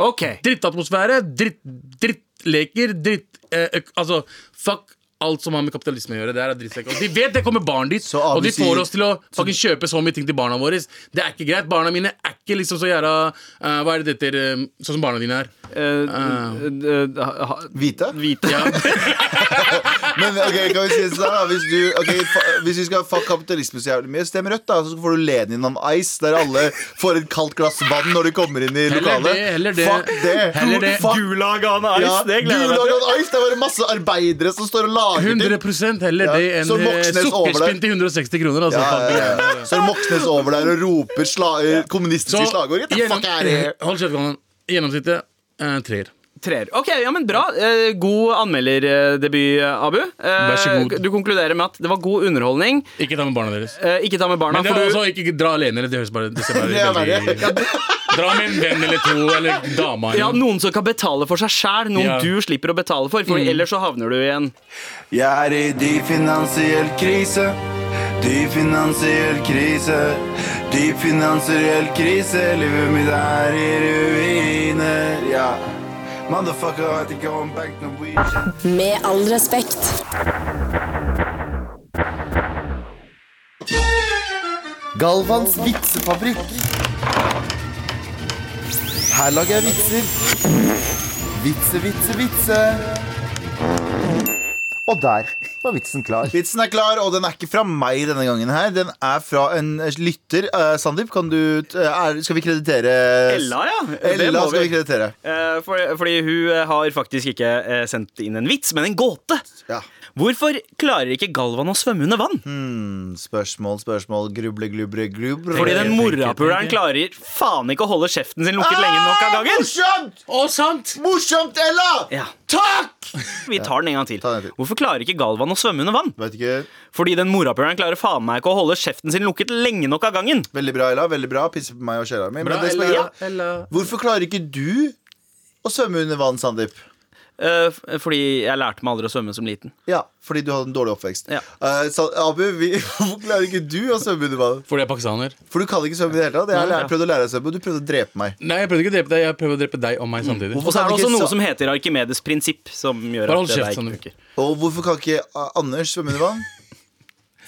[SPEAKER 2] Ok.
[SPEAKER 3] Drittatmosfære, dritt, drittleker, dritt... Eh, øk, altså, fuck alt som har med kapitalisme å gjøre. Det her er drittsekk. Og de vet det kommer barn dit,
[SPEAKER 4] Så
[SPEAKER 3] og de
[SPEAKER 4] ABC
[SPEAKER 3] får oss til å fucking kjøpe så mye ting til barna våre. Det er ikke greit. Barna mine er ikke liksom så jævla eh, Hva er det dette eh, Sånn som barna dine er.
[SPEAKER 2] Eh, eh, ha- ha-
[SPEAKER 4] Hvite?
[SPEAKER 2] Hvite.
[SPEAKER 3] Ja.
[SPEAKER 4] Men ok, kan vi si det sånn da Hvis, du, ok, fa- hvis vi skal fuck kapitalisme så jævlig mye Stem rødt da, så får du Lenin on ice Der alle får et kaldt glass vann når de kommer inn i
[SPEAKER 3] Heller
[SPEAKER 4] lokalet
[SPEAKER 3] det, heller det.
[SPEAKER 4] Fuck det
[SPEAKER 3] Heller det.
[SPEAKER 4] Fuck
[SPEAKER 2] Gulag on ice,
[SPEAKER 4] ja,
[SPEAKER 2] det gleder jeg meg
[SPEAKER 4] Gulag
[SPEAKER 2] til.
[SPEAKER 4] on ice, det er bare masse arbeidere som står og lager ting
[SPEAKER 3] 100 heller
[SPEAKER 4] Ja,
[SPEAKER 3] det enn
[SPEAKER 4] så
[SPEAKER 3] eh,
[SPEAKER 4] Moxnes over
[SPEAKER 3] sukkerspinn til 160 kroner. Altså,
[SPEAKER 4] ja, ja,
[SPEAKER 3] fucking
[SPEAKER 4] ja. Så er Moxnes over der og roper sla, eh, kommunistiske slagord Get the
[SPEAKER 3] gjennom- eh,
[SPEAKER 4] fuck out of here
[SPEAKER 3] Hold kjeft, Galvan. Gjennomsnittet eh, treer.
[SPEAKER 2] Treer. Ok, ja, men bra. Eh, god anmelderdebut, eh, Abu. Eh,
[SPEAKER 3] Vær så god.
[SPEAKER 2] Du konkluderer med at det var god underholdning.
[SPEAKER 3] Ikke ta med barna deres.
[SPEAKER 2] Eh, ikke ta med barna,
[SPEAKER 3] Men det altså-
[SPEAKER 2] for
[SPEAKER 3] er
[SPEAKER 2] du
[SPEAKER 3] også ikke dra alene. eller Det høres bare det ser
[SPEAKER 4] Det er
[SPEAKER 3] bare veldig
[SPEAKER 4] verre.
[SPEAKER 3] Dra med en venn eller to, eller dama.
[SPEAKER 2] ja,
[SPEAKER 3] eller-
[SPEAKER 2] noen som kan betale for seg sjæl, noen
[SPEAKER 3] Ja. Mm.
[SPEAKER 2] du slipper å betale for, for ellers så havner du i en
[SPEAKER 1] Jeg er i dyp finansiell krise. Dyp finansiell krise. Dyp finansiell krise. Livet mitt er i ruiner. Ja. Motherfucker, I think I want back no weed.
[SPEAKER 5] Med all respekt.
[SPEAKER 4] Galvans vitsefabrikk Her lager jeg vitser Vitse, vitse, vitse
[SPEAKER 6] Og der var vitsen klar.
[SPEAKER 4] Vitsen er klar, og den er ikke fra meg denne gangen her. Den er fra en lytter. Eh, Sandeep, kan du t- eh, er, Skal vi kreditere
[SPEAKER 2] Ella, ja. Det
[SPEAKER 4] Ella
[SPEAKER 2] må
[SPEAKER 4] skal vi
[SPEAKER 2] vi.
[SPEAKER 4] kreditere.
[SPEAKER 2] Eh, for, fordi hun eh, har faktisk ikke eh, sendt inn en vits, men en gåte.
[SPEAKER 4] Ja.
[SPEAKER 2] Hvorfor klarer ikke Galvan å svømme under vann?
[SPEAKER 4] Spørsmål, spørsmål, gruble, glubre, glubr.
[SPEAKER 2] Fordi den
[SPEAKER 3] tenker,
[SPEAKER 2] morapuleren
[SPEAKER 3] tenker.
[SPEAKER 2] klarer faen ikke å holde kjeften sin lukket lenge nok av gangen.
[SPEAKER 4] Morsomt!
[SPEAKER 3] Å, sant!
[SPEAKER 4] Morsomt, Ella!
[SPEAKER 2] Ja.
[SPEAKER 4] Takk!
[SPEAKER 2] Vi tar den en gang til.
[SPEAKER 4] Ta den en til.
[SPEAKER 2] Hvorfor klarer ikke Galvan å svømme under vann?
[SPEAKER 4] Vet ikke.
[SPEAKER 2] Fordi den morapuleren klarer faen meg ikke å holde kjeften sin lukket lenge nok av gangen.
[SPEAKER 4] Veldig bra, Ella. Veldig bra. Pisser på meg og sjela mi. Men
[SPEAKER 3] Bra,
[SPEAKER 4] det som er
[SPEAKER 3] Ella,
[SPEAKER 4] greia-
[SPEAKER 3] Ella.
[SPEAKER 4] Hvorfor klarer ikke du å svømme under vann, Sandeep?
[SPEAKER 2] Eh, f- fordi jeg lærte meg aldri å svømme som liten.
[SPEAKER 4] Ja, fordi du hadde en dårlig oppvekst.
[SPEAKER 2] Ja.
[SPEAKER 4] Eh, Sa- Abu, vi, hvorfor klarer ikke du å svømme under vann?
[SPEAKER 3] Fordi jeg er pakistaner.
[SPEAKER 4] For du kan ikke svømme i det hele tatt. Jeg har
[SPEAKER 2] Nei,
[SPEAKER 4] lært-
[SPEAKER 2] ja.
[SPEAKER 4] prøvd å lære deg å svømme, og du prøvde å drepe meg.
[SPEAKER 3] Nei, jeg prøvde ikke å drepe deg. Jeg prøvde å drepe deg og meg samtidig.
[SPEAKER 4] Hvorfor
[SPEAKER 2] Og så er
[SPEAKER 4] kan
[SPEAKER 2] det
[SPEAKER 4] ikke
[SPEAKER 2] også noe
[SPEAKER 4] sa-
[SPEAKER 2] som heter Arkimedes prinsipp. Som gjør
[SPEAKER 3] Bare
[SPEAKER 2] at det
[SPEAKER 3] hold
[SPEAKER 2] der ikke
[SPEAKER 3] kjeft, Sander.
[SPEAKER 2] funker.
[SPEAKER 4] Og hvorfor kan ikke A- Anders svømme under vann?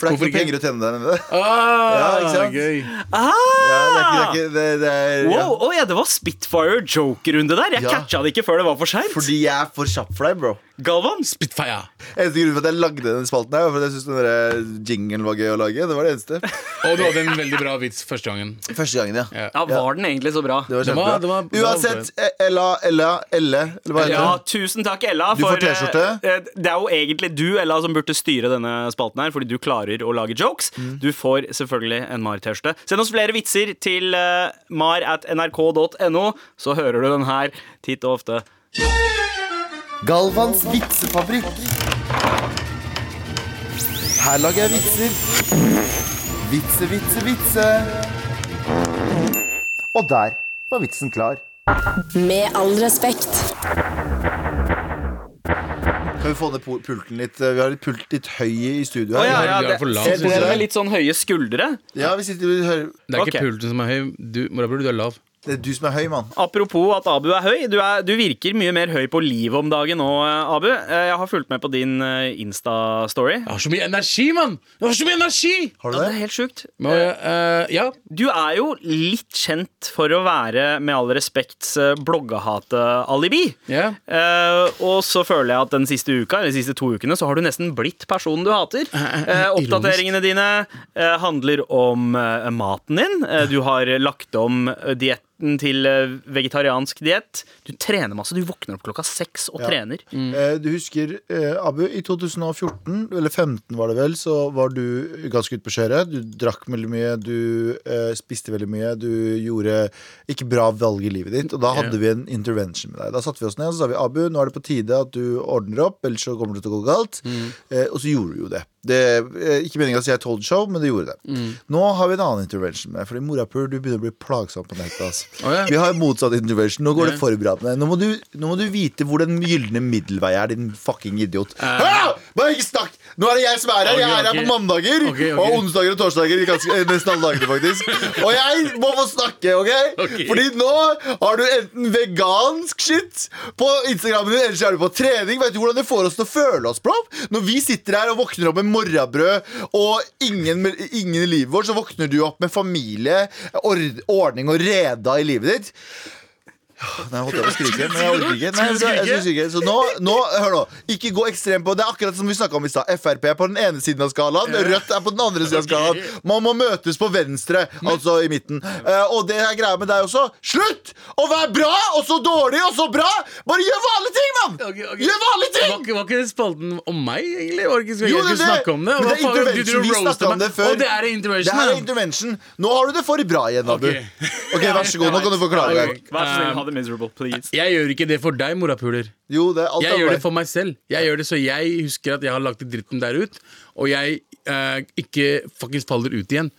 [SPEAKER 4] For det er
[SPEAKER 3] Hvorfor
[SPEAKER 4] ikke noe
[SPEAKER 3] ikke?
[SPEAKER 4] penger å tjene der nede.
[SPEAKER 3] Ah,
[SPEAKER 4] Ja, ikke sant?
[SPEAKER 3] Gøy.
[SPEAKER 4] Ja, det er ikke, det er ikke, det, det er, ja.
[SPEAKER 2] Wow, å ja, det var Spitfire joker-runde der. Jeg
[SPEAKER 4] Ja.
[SPEAKER 2] catcha det ikke før det var for seint.
[SPEAKER 4] Fordi jeg er for kjapp for deg, bro.
[SPEAKER 2] Galvan,
[SPEAKER 3] Spitfire.
[SPEAKER 4] Eneste grunn for at jeg lagde den spalten, her var fordi jeg syntes den der eh, jinglen var gøy å lage. Det var det eneste.
[SPEAKER 3] Og du hadde en veldig bra vits første gangen.
[SPEAKER 4] Første gangen, ja.
[SPEAKER 2] ja, var den egentlig så bra?
[SPEAKER 4] Det var
[SPEAKER 3] Det var-
[SPEAKER 4] kjempebra.
[SPEAKER 3] det var- det var-
[SPEAKER 4] Uansett, eh, Ella, Ella, Elle, eller hva heter
[SPEAKER 2] Ja,
[SPEAKER 4] hun?
[SPEAKER 2] tusen takk, Ella.
[SPEAKER 4] Du får
[SPEAKER 2] for, eh,
[SPEAKER 4] T-skjorte.
[SPEAKER 2] eh, Det er jo egentlig du, Ella, som burde styre denne spalten her, fordi du klarer å lage jokes. Du får selvfølgelig en Mar-T-skjorte. Send oss flere vitser til eh, mar at nrk.no, så hører du den her titt og ofte.
[SPEAKER 4] Galvans vitsefabrikk. Her lager jeg vitser. Vitse, vitse, vitse.
[SPEAKER 6] Og der var vitsen klar.
[SPEAKER 5] Med all respekt.
[SPEAKER 4] Kan vi få ned pul- pulten litt? Vi har litt pult litt høy i studio her.
[SPEAKER 2] Å, ja, ja,
[SPEAKER 3] Vi er for lav,
[SPEAKER 2] det,
[SPEAKER 3] synes
[SPEAKER 2] sitter dere
[SPEAKER 4] jeg.
[SPEAKER 2] med litt sånn høye skuldre?
[SPEAKER 4] Ja, vi sitter og hører
[SPEAKER 3] Det er
[SPEAKER 2] Ok.
[SPEAKER 3] ikke pulten som er høy. Du, Morabro, du er lav.
[SPEAKER 4] Det er du som er høy, mann.
[SPEAKER 2] Apropos at Abu er høy. Du, er, du virker mye mer høy på livet om dagen nå, eh, Abu. Eh, Jeg har fulgt med på din eh, Insta-story.
[SPEAKER 3] Jeg har så mye energi, mann! Jeg har så mye energi!
[SPEAKER 4] Har
[SPEAKER 2] Ja,
[SPEAKER 4] du
[SPEAKER 2] det
[SPEAKER 4] det?
[SPEAKER 2] er helt sjukt.
[SPEAKER 3] Må jeg, eh, ja.
[SPEAKER 2] Du er jo litt kjent for å være, med all respekt, eh, bloggehate-alibi.
[SPEAKER 3] ja.
[SPEAKER 2] Eh, og så føler jeg at den siste uka, eller de siste to ukene så har du nesten blitt personen du hater. Eh, oppdateringene dine eh, handler om eh, maten din. Eh, du har lagt om eh, dietten til eh, vegetariansk diett. Du trener masse. Du våkner opp klokka seks og
[SPEAKER 4] Ja.
[SPEAKER 2] trener.
[SPEAKER 3] Mm.
[SPEAKER 4] Eh, Du husker, eh, Abu, i 2014, eller 15 var det vel, så var du ganske ute på kjøret. Du drakk veldig mye, du eh, spiste veldig mye, du gjorde ikke bra valg i livet ditt. Og da hadde vi en intervention med deg. Da satte vi oss ned og så sa vi, Abu, nå er det på tide at du ordner opp, ellers så kommer det til å gå galt.
[SPEAKER 3] Mm.
[SPEAKER 4] Eh, Og så gjorde du jo det. det eh, ikke meningen å si jeg told show, men det gjorde det.
[SPEAKER 3] Mm.
[SPEAKER 4] Nå har vi en annen intervention med deg, fordi morapur, du begynner å bli plagsom på nettet. altså. ass.
[SPEAKER 3] Å, ja.
[SPEAKER 4] Vi har motsatt intervention. Nå går det for bra med deg. Nå må du, nå må du vite hvor den gylne middelvei er, din fucking idiot. Hæ? Bare ikke snakk! Nå er det jeg som er her. Jeg
[SPEAKER 3] Ok,
[SPEAKER 4] er her
[SPEAKER 3] ok.
[SPEAKER 4] på mandager
[SPEAKER 3] Ok, ok.
[SPEAKER 4] og onsdager og torsdager. Ganske, eh, nesten alle dagene, faktisk. Og jeg må få snakke, OK?
[SPEAKER 3] Ok.
[SPEAKER 4] Fordi nå har du enten vegansk shit på Instagramen din, eller så er du på trening. Vet du hvordan det får oss til å føle oss, bro? Når vi sitter her og våkner opp med morrabrød og ingen, ingen i livet vårt, så våkner du opp med familie, ord, ordning og reda i livet ditt. Nei, jeg holdt på å skrike, men jeg orker ikke. Nei, jeg, jeg, skulle skrike. Så nå, nå, hør nå. Ikke gå ekstremt på Det er akkurat som vi snakka om i stad. Frp er på den ene siden av skalaen, Rødt er på den andre siden av skalaen. Man må møtes på venstre, altså i midten. Eh, og det er greia med deg også. Slutt å være bra, og så dårlig, og så bra! Bare gjør vanlige ting, mann!
[SPEAKER 3] Ok, ok.
[SPEAKER 4] Gjør vanlige ting!
[SPEAKER 3] Var, ikke- var ikke det spalten om meg, egentlig? Var det ikke så
[SPEAKER 4] Jo,
[SPEAKER 3] jeg
[SPEAKER 4] det
[SPEAKER 3] skulle
[SPEAKER 4] er det.
[SPEAKER 3] snakke om det?
[SPEAKER 4] Men
[SPEAKER 3] Hva
[SPEAKER 4] det er
[SPEAKER 3] faen, du- du
[SPEAKER 4] intervention. Vi
[SPEAKER 3] roaster
[SPEAKER 4] snakket om
[SPEAKER 3] meg.
[SPEAKER 4] det før.
[SPEAKER 3] Og det er
[SPEAKER 4] Det
[SPEAKER 3] intervention,
[SPEAKER 4] her er
[SPEAKER 3] ja.
[SPEAKER 4] intervention. Nå har du det for bra igjen, Abu.
[SPEAKER 3] Ok.
[SPEAKER 4] Ok, vær så god. Nå kan du forklare en gang.
[SPEAKER 3] Ok.
[SPEAKER 2] Vær så snill, ha det miserable, please.
[SPEAKER 3] Jeg gjør ikke det for deg, morapuler.
[SPEAKER 4] Jo, det er alt
[SPEAKER 3] Jeg
[SPEAKER 4] er
[SPEAKER 3] gjør
[SPEAKER 4] bra.
[SPEAKER 3] det for meg selv. Jeg gjør det Så jeg husker at jeg har lagt ut dritten der ut, og jeg eh, ikke fuckings faller ut igjen.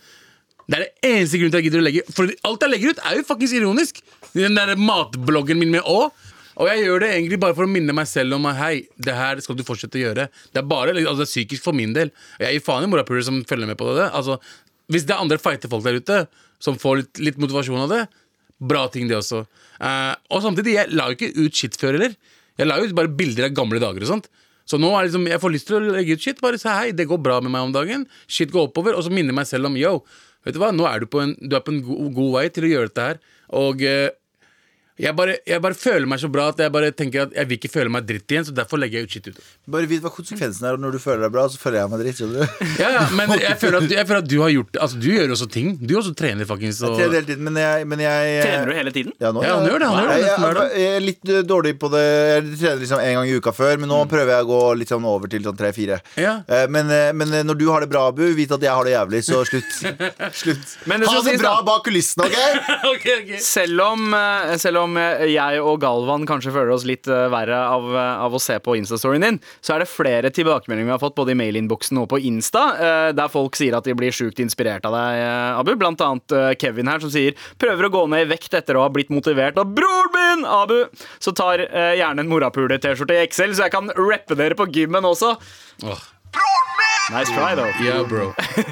[SPEAKER 3] Det er det eneste grunnen til at jeg gidder å legge For alt jeg legger ut, er jo fuckings ironisk. Den der matbloggen min med å. Og jeg gjør det egentlig bare for å minne meg selv om at hei, det her skal du fortsette å gjøre. Det er bare, altså det er psykisk for min del. Og Jeg gir faen i morapuler som følger med på det. Altså, hvis det er andre feite folk der ute som får litt, litt motivasjon av det, bra ting det også. Eh, og samtidig, jeg la jo ikke ut shit før heller. Jeg la jo ut bare bilder av gamle dager og sånt. Så nå er det liksom, jeg får lyst til å legge ut shit. Bare si hei, det går bra med meg om dagen. Shit går oppover. Og så minner jeg meg selv om yo, vet du hva, nå er du på en, du er på en god, god vei til å gjøre dette her. Og eh, jeg, bare, jeg bare føler meg så bra at jeg bare tenker at jeg vil ikke føle meg dritt igjen, så derfor legger jeg ut shit ute.
[SPEAKER 4] Bare vit hva konsekvensen er, og når du føler deg bra, så føler jeg meg dritt. skjønner du?
[SPEAKER 3] Ja, ja, men jeg føler, at, jeg føler at du har gjort Altså, du gjør jo også ting. Du også trener, fuckings. og-
[SPEAKER 4] Trener hele tiden, men jeg, men jeg
[SPEAKER 2] Trener du hele tiden?
[SPEAKER 4] Ja, nå,
[SPEAKER 3] Ja, han gjør det, han gjør det
[SPEAKER 4] Nei,
[SPEAKER 3] nesten hver
[SPEAKER 4] jeg,
[SPEAKER 3] dag.
[SPEAKER 4] jeg, er litt eh, dårlig på det. Jeg trener liksom en gang i uka før, men nå prøver jeg å gå litt sånn over til sånn tre-fire.
[SPEAKER 3] Mm. Ja.
[SPEAKER 4] Eh, Men, eh, men eh, når du har det bra, Abu, vit at jeg har det jævlig, så slutt. slutt.
[SPEAKER 2] Men det
[SPEAKER 4] ha
[SPEAKER 2] skal
[SPEAKER 4] det
[SPEAKER 2] sies
[SPEAKER 4] bra
[SPEAKER 3] sånn-
[SPEAKER 2] da.
[SPEAKER 4] bak kulissene, OK?
[SPEAKER 3] Ok, ok.
[SPEAKER 2] Selv om, eh, selv om eh, jeg og Galvan kanskje føler oss litt eh, verre av, eh, av å se på Insta-storyen din, så er det flere tilbakemeldinger vi har fått både i mailinnboksen og på Insta, eh, der folk sier at de blir sjukt inspirert av deg, eh, Abu. Blant annet eh, Kevin her som sier prøver å gå ned i vekt etter å ha blitt motivert av broren min, Abu. Så tar eh, gjerne en morapule-T-skjorte i XL, så jeg kan rappe dere på gymmen også.
[SPEAKER 3] Åh.
[SPEAKER 2] Nice try, though.
[SPEAKER 3] Ja, bro.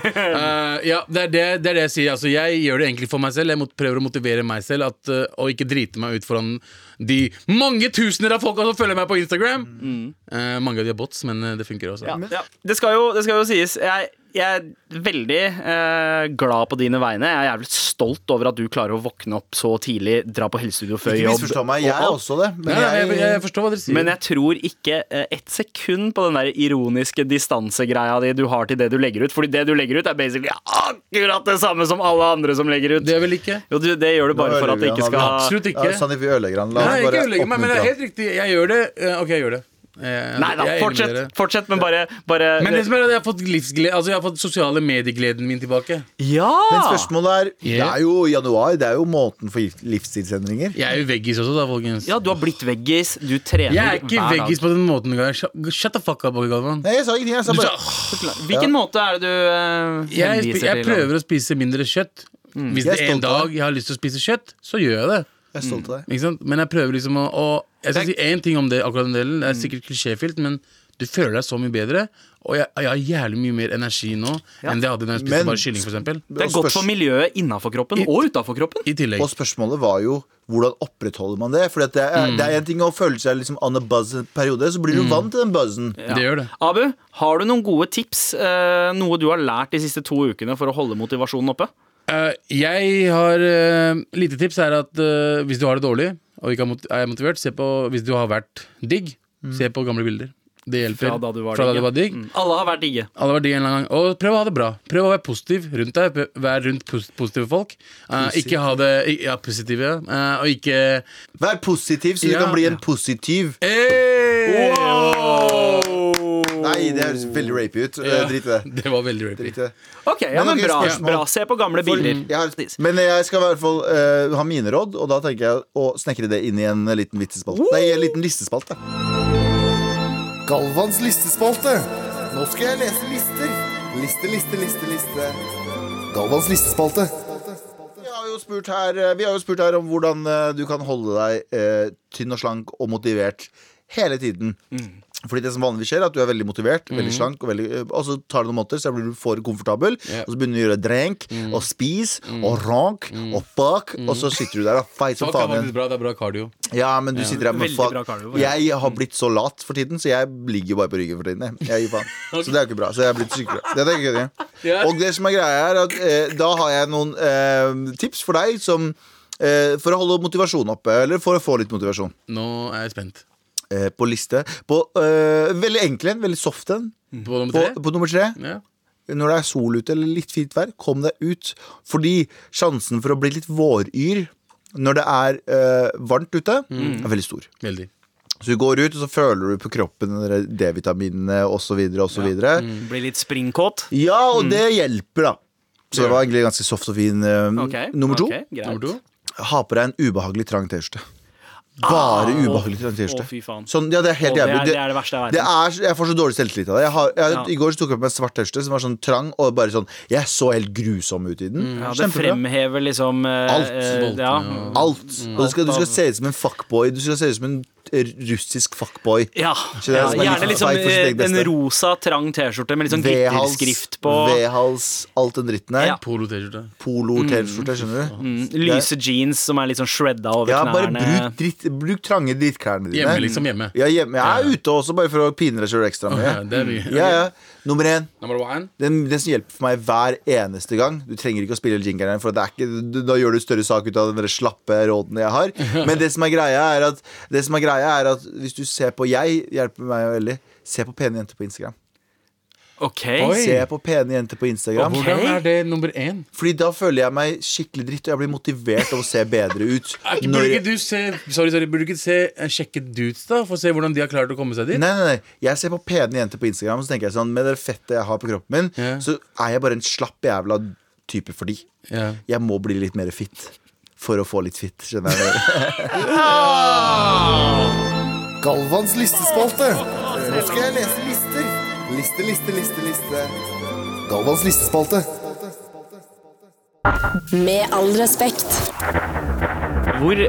[SPEAKER 3] Eh, ja, det er det, det er det jeg sier. Altså, jeg gjør det egentlig for meg selv. Jeg mot- prøver å motivere meg selv at, eh, og ikke drite meg ut foran de mange tusener av folka som følger meg på Instagram.
[SPEAKER 2] Mm.
[SPEAKER 3] Eh, mange av de er bots, men eh, det funker også.
[SPEAKER 2] Ja, ja. Det, skal jo, det skal jo sies. Jeg, jeg er veldig eh, glad på dine vegne. Jeg er jævlig stolt over at du klarer å våkne opp så tidlig, dra på helsestudio før
[SPEAKER 4] Ikke
[SPEAKER 2] jobb.
[SPEAKER 4] misforstå meg, jeg
[SPEAKER 2] og
[SPEAKER 4] er
[SPEAKER 2] alt.
[SPEAKER 4] også det.
[SPEAKER 3] Nei,
[SPEAKER 4] Men
[SPEAKER 3] nei, jeg, jeg,
[SPEAKER 4] jeg,
[SPEAKER 3] forstår hva dere sier.
[SPEAKER 2] Men jeg tror ikke eh, ett sekund på den der ironiske distansegreia di du har til det du legger ut. Fordi det du legger ut, er basically akkurat det samme som alle andre som legger ut.
[SPEAKER 3] det er vel ikke?
[SPEAKER 2] Jo, du, det gjør du bare
[SPEAKER 4] Nå
[SPEAKER 2] for at det
[SPEAKER 4] ødelegger
[SPEAKER 2] ikke
[SPEAKER 4] han,
[SPEAKER 2] skal
[SPEAKER 4] Abu.
[SPEAKER 3] Absolutt ikke.
[SPEAKER 4] ja, Sandeep, vi ødelegger han. La
[SPEAKER 3] Nei,
[SPEAKER 4] oss
[SPEAKER 3] ikke
[SPEAKER 4] bare
[SPEAKER 3] ødelegge meg, men det er
[SPEAKER 4] oppmuntre
[SPEAKER 3] helt
[SPEAKER 4] han.
[SPEAKER 3] riktig. Jeg gjør det. Eh, ok, jeg gjør det. Eh,
[SPEAKER 2] Nei da,
[SPEAKER 3] jeg er enig med
[SPEAKER 2] fortsett,
[SPEAKER 3] dere.
[SPEAKER 2] fortsett, men bare, bare
[SPEAKER 3] Men det som er at jeg har fått livsglede Altså jeg har fått sosiale mediegleden min tilbake.
[SPEAKER 2] Ja!
[SPEAKER 4] Men spørsmålet er Det
[SPEAKER 3] Yeah.
[SPEAKER 4] er jo januar. Det er jo måten for liv- livsstilsendringer.
[SPEAKER 3] Jeg er jo veggis også, da, folkens.
[SPEAKER 2] Ja, du har blitt veggis. Du trener
[SPEAKER 3] jeg er ikke
[SPEAKER 2] hver dag.
[SPEAKER 3] veggis på den måten. Guy. Shut shut the fuck up, Galvan.
[SPEAKER 4] Nei, jeg sa ingenting. Jeg sa
[SPEAKER 3] Du
[SPEAKER 4] bare
[SPEAKER 3] sa
[SPEAKER 2] Hvilken måte er det du eh,
[SPEAKER 3] jeg, spi-
[SPEAKER 2] henviser til?
[SPEAKER 3] jeg
[SPEAKER 2] Mm.
[SPEAKER 3] prøver å spise mindre kjøtt. Hvis
[SPEAKER 4] Jeg
[SPEAKER 3] det
[SPEAKER 4] er
[SPEAKER 3] er en
[SPEAKER 4] stolt av
[SPEAKER 3] dag jeg har lyst til å spise kjøtt, så gjør jeg det.
[SPEAKER 4] Jeg er stolt av deg.
[SPEAKER 3] Ikke sant? Men jeg prøver liksom å, å Jeg skal si én ting om det, akkurat den delen. Det er sikkert klisjéfylt, men Du føler deg så mye bedre, og jeg, jeg har jævlig mye mer energi nå enn det jeg hadde da jeg spiste
[SPEAKER 4] Men-
[SPEAKER 3] bare kylling, for eksempel.
[SPEAKER 2] Det er godt for miljøet innafor kroppen og utafor kroppen.
[SPEAKER 3] I tillegg.
[SPEAKER 4] Og spørsmålet var jo hvordan opprettholder man det? For det, er- det er en ting å føle seg liksom on a buzz en periode, så blir du vant til den buzzen.
[SPEAKER 2] Ja.
[SPEAKER 3] Det gjør det.
[SPEAKER 2] Abu, har du noen gode tips? eh, noe du har lært de siste to ukene for å holde motivasjonen oppe?
[SPEAKER 3] Eh, jeg har eh, Lite tips er at eh, hvis du har det dårlig og ikke er mot- er motivert, se på Hvis du har vært digg, se på gamle bilder. Det hjelper.
[SPEAKER 2] Mm. Fra da du var
[SPEAKER 3] Fra
[SPEAKER 2] digg,
[SPEAKER 3] da du
[SPEAKER 2] ja.
[SPEAKER 3] var digg.
[SPEAKER 2] Mm. Alle har vært digge.
[SPEAKER 3] Alle var digg en eller annen gang. Og prøv å ha det bra. Prøv å være positiv rundt deg. Prøv- Vær rundt pos positive folk. Eh, ikke ha det i- Ja, positive, ja. Eh, og ikke
[SPEAKER 4] Vær positiv, så du
[SPEAKER 3] Ja.
[SPEAKER 4] kan bli en
[SPEAKER 3] Ja.
[SPEAKER 4] positiv.
[SPEAKER 3] hey!
[SPEAKER 4] Nei, det høres veldig rapey ut. Eh, Drit i det.
[SPEAKER 3] Det var veldig rapy.
[SPEAKER 4] Drit i det.
[SPEAKER 2] Ok, ja,
[SPEAKER 4] Men
[SPEAKER 2] men
[SPEAKER 4] ok,
[SPEAKER 2] bra,
[SPEAKER 4] spørsmål.
[SPEAKER 2] bra. Se på gamle bilder.
[SPEAKER 4] Jeg har, men jeg skal i hvert fall eh, ha mine råd, og da tenker jeg å snekre det inn i en liten vitsespalte. Nei, en liten listespalte.
[SPEAKER 7] Galvans listespalte. Nå skal jeg lese lister. Liste, liste, liste, liste. Galvans listespalte.
[SPEAKER 4] Vi har jo spurt her, eh, vi har jo spurt her om hvordan eh, du kan holde deg eh, tynn og slank og motivert hele tiden.
[SPEAKER 2] Mm.
[SPEAKER 4] Fordi det som vanligvis skjer er at du er veldig motivert, veldig slank, og, veldig, eh, og så tar det noen måneder, så blir du for komfortabel,
[SPEAKER 3] Ja.
[SPEAKER 4] og så begynner du å gjøre drenk,
[SPEAKER 2] Mm.
[SPEAKER 4] og spis, og rank, og bak, og så sitter du der og feit som
[SPEAKER 3] Fuck, det
[SPEAKER 4] faen
[SPEAKER 3] var
[SPEAKER 4] igjen.
[SPEAKER 3] faktisk bra. Det er bra cardio.
[SPEAKER 4] Ja, men du sitter her med
[SPEAKER 2] Veldig
[SPEAKER 4] fuck
[SPEAKER 2] bra kardio, ja. Mm.
[SPEAKER 4] Jeg har blitt så lat for tiden, så jeg ligger jo bare på ryggen for tiden. Jeg, jeg gir faen. Så det er jo ikke bra. Så jeg er blitt sykere. Det er ikke kødd.
[SPEAKER 3] Ja.
[SPEAKER 4] Og det som er greia, er at eh, da har jeg noen eh, tips for deg som eh, for å holde motivasjonen oppe, eller for å få litt motivasjon.
[SPEAKER 3] Nå er jeg spent.
[SPEAKER 4] Eh, på liste. På eh, veldig enkel en, veldig soft en.
[SPEAKER 3] På nummer
[SPEAKER 4] På,
[SPEAKER 3] tre?
[SPEAKER 4] på nummer tre,
[SPEAKER 3] Ja.
[SPEAKER 4] når det er sol ute eller litt fint vær, kom deg ut. Fordi sjansen for å bli litt våryr når det er eh, varmt ute,
[SPEAKER 3] Mm.
[SPEAKER 4] er veldig stor.
[SPEAKER 3] Veldig.
[SPEAKER 4] Så du går ut, og så føler du på kroppen den der D-vitaminene osv. osv. videre
[SPEAKER 3] Mm.
[SPEAKER 2] Blir litt springkåt.
[SPEAKER 4] Ja, og
[SPEAKER 2] Mm.
[SPEAKER 4] det hjelper, da. Så det var egentlig ganske soft og fin. eh,
[SPEAKER 2] Ok,
[SPEAKER 4] Nummer to.
[SPEAKER 2] ok, greit.
[SPEAKER 3] Nummer to?
[SPEAKER 4] Ha på deg en ubehagelig trang T-skjorte. Bare
[SPEAKER 2] Ah,
[SPEAKER 4] ubehagelig
[SPEAKER 2] å,
[SPEAKER 4] trang T-skjorte.
[SPEAKER 2] å, fy faen.
[SPEAKER 4] Sånn, ja, det er
[SPEAKER 2] Å,
[SPEAKER 4] helt
[SPEAKER 2] det er-
[SPEAKER 4] jævlig.
[SPEAKER 2] det er det verste jeg vet.
[SPEAKER 4] det er så- jeg får så dårlig selvtillit av det. Jeg har, jeg,
[SPEAKER 2] Ja.
[SPEAKER 4] I går så tok jeg på meg en svart T-skjorte som var sånn trang og bare sånn Jeg så helt grusom ut i den.
[SPEAKER 2] Mm, Ja, det fremhever liksom eh,
[SPEAKER 4] Alt.
[SPEAKER 2] eh, ja.
[SPEAKER 4] Alt.
[SPEAKER 2] Mm,
[SPEAKER 4] Og du skal, du skal se ut som en fuckboy. Du skal se ut som en eh, russisk fuckboy.
[SPEAKER 2] Ja,
[SPEAKER 4] Så det er
[SPEAKER 2] ja,
[SPEAKER 4] som er
[SPEAKER 2] gjerne
[SPEAKER 4] litt
[SPEAKER 2] liksom
[SPEAKER 4] feil for sitt
[SPEAKER 2] eh,
[SPEAKER 4] eget
[SPEAKER 2] en
[SPEAKER 4] beste.
[SPEAKER 2] rosa, trang T-skjorte med litt sånn
[SPEAKER 4] V-hals,
[SPEAKER 2] glitterskrift på.
[SPEAKER 4] V-hals, alt den dritten der.
[SPEAKER 2] Ja.
[SPEAKER 3] Polo-T-skjorte.
[SPEAKER 4] Polo-T-skjorte, skjønner du?
[SPEAKER 2] Mm, Lyse jeans som er litt sånn shredda over
[SPEAKER 4] Ja, bare
[SPEAKER 2] knærne.
[SPEAKER 4] bruk, dritt, bruk trange drittklærne dine.
[SPEAKER 3] Hjemme, liksom. Hjemme.
[SPEAKER 4] Ja, hjemme. Jeg er ute også, bare for å pine deg sjøl ekstra mye.
[SPEAKER 3] Ja, det er mye.
[SPEAKER 4] Ja, ja. Nummer én.
[SPEAKER 3] Number one.
[SPEAKER 4] Den, den som hjelper for meg hver eneste gang. Du trenger ikke å spille jingeren, her, for det er ikke, du- da gjør du større sak ut av den der slappe rådene jeg har. Men det som er greia, er at, det som er greia er at hvis du ser på Jeg hjelper meg veldig. Se på pene jenter på Instagram.
[SPEAKER 2] Ok,
[SPEAKER 3] Oi.
[SPEAKER 4] Se på pene jenter på Instagram.
[SPEAKER 3] Hvordan er det nummer én?
[SPEAKER 4] Fordi da føler jeg meg skikkelig dritt, og jeg blir motivert av å se bedre ut.
[SPEAKER 3] Er ikke-
[SPEAKER 4] Når
[SPEAKER 3] Burde
[SPEAKER 4] jeg-
[SPEAKER 3] ikke du se Sorry, sorry, burde ikke se eh, sjekke dudes, da? For å se hvordan de har klart å komme seg dit?
[SPEAKER 4] Nei, nei, nei, jeg ser på pene jenter på Instagram, og så tenker jeg sånn Med det fettet jeg har på kroppen min,
[SPEAKER 3] Ja.
[SPEAKER 4] så er jeg bare en slapp jævla type for de.
[SPEAKER 3] Ja.
[SPEAKER 4] Jeg må bli litt mer fit. For å få litt fit, skjønner jeg.
[SPEAKER 7] Ah! Galvans listespalte. Nå skal jeg lese lister. Liste, liste, liste, liste. Galvans listespalte.
[SPEAKER 5] Med all respekt.
[SPEAKER 2] Hvor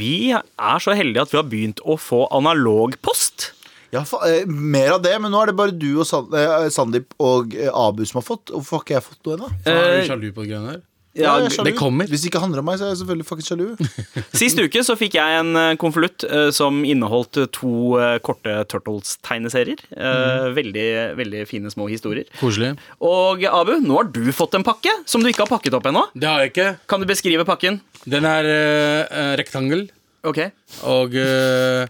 [SPEAKER 2] vi er så heldige at vi har begynt å få analog post.
[SPEAKER 4] Ja, fa eh, mer av det, men nå er det bare du og San eh, Sandeep og eh, Abu som har fått. Hvorfor har ikke jeg fått noe ennå?
[SPEAKER 3] Faen, Er
[SPEAKER 2] Eh,
[SPEAKER 3] du sjalu på de greiene der?
[SPEAKER 4] Ja,
[SPEAKER 2] Ja,
[SPEAKER 4] jeg er sjalu.
[SPEAKER 3] det kommer.
[SPEAKER 4] Hvis det ikke handler om meg, så er jeg selvfølgelig fuckings sjalu.
[SPEAKER 2] Sist uke så fikk jeg en eh, konvolutt eh, som inneholdt eh, to eh, korte Turtles-tegneserier.
[SPEAKER 4] Mm.
[SPEAKER 2] Eh, Veldig, veldig fine små historier.
[SPEAKER 3] Koselig.
[SPEAKER 2] Og Abu, nå har du fått en pakke som du ikke har pakket opp ennå.
[SPEAKER 3] Det har jeg ikke.
[SPEAKER 2] Kan du beskrive pakken?
[SPEAKER 3] Den er eh, eh, rektangel
[SPEAKER 2] Ok.
[SPEAKER 3] og eh,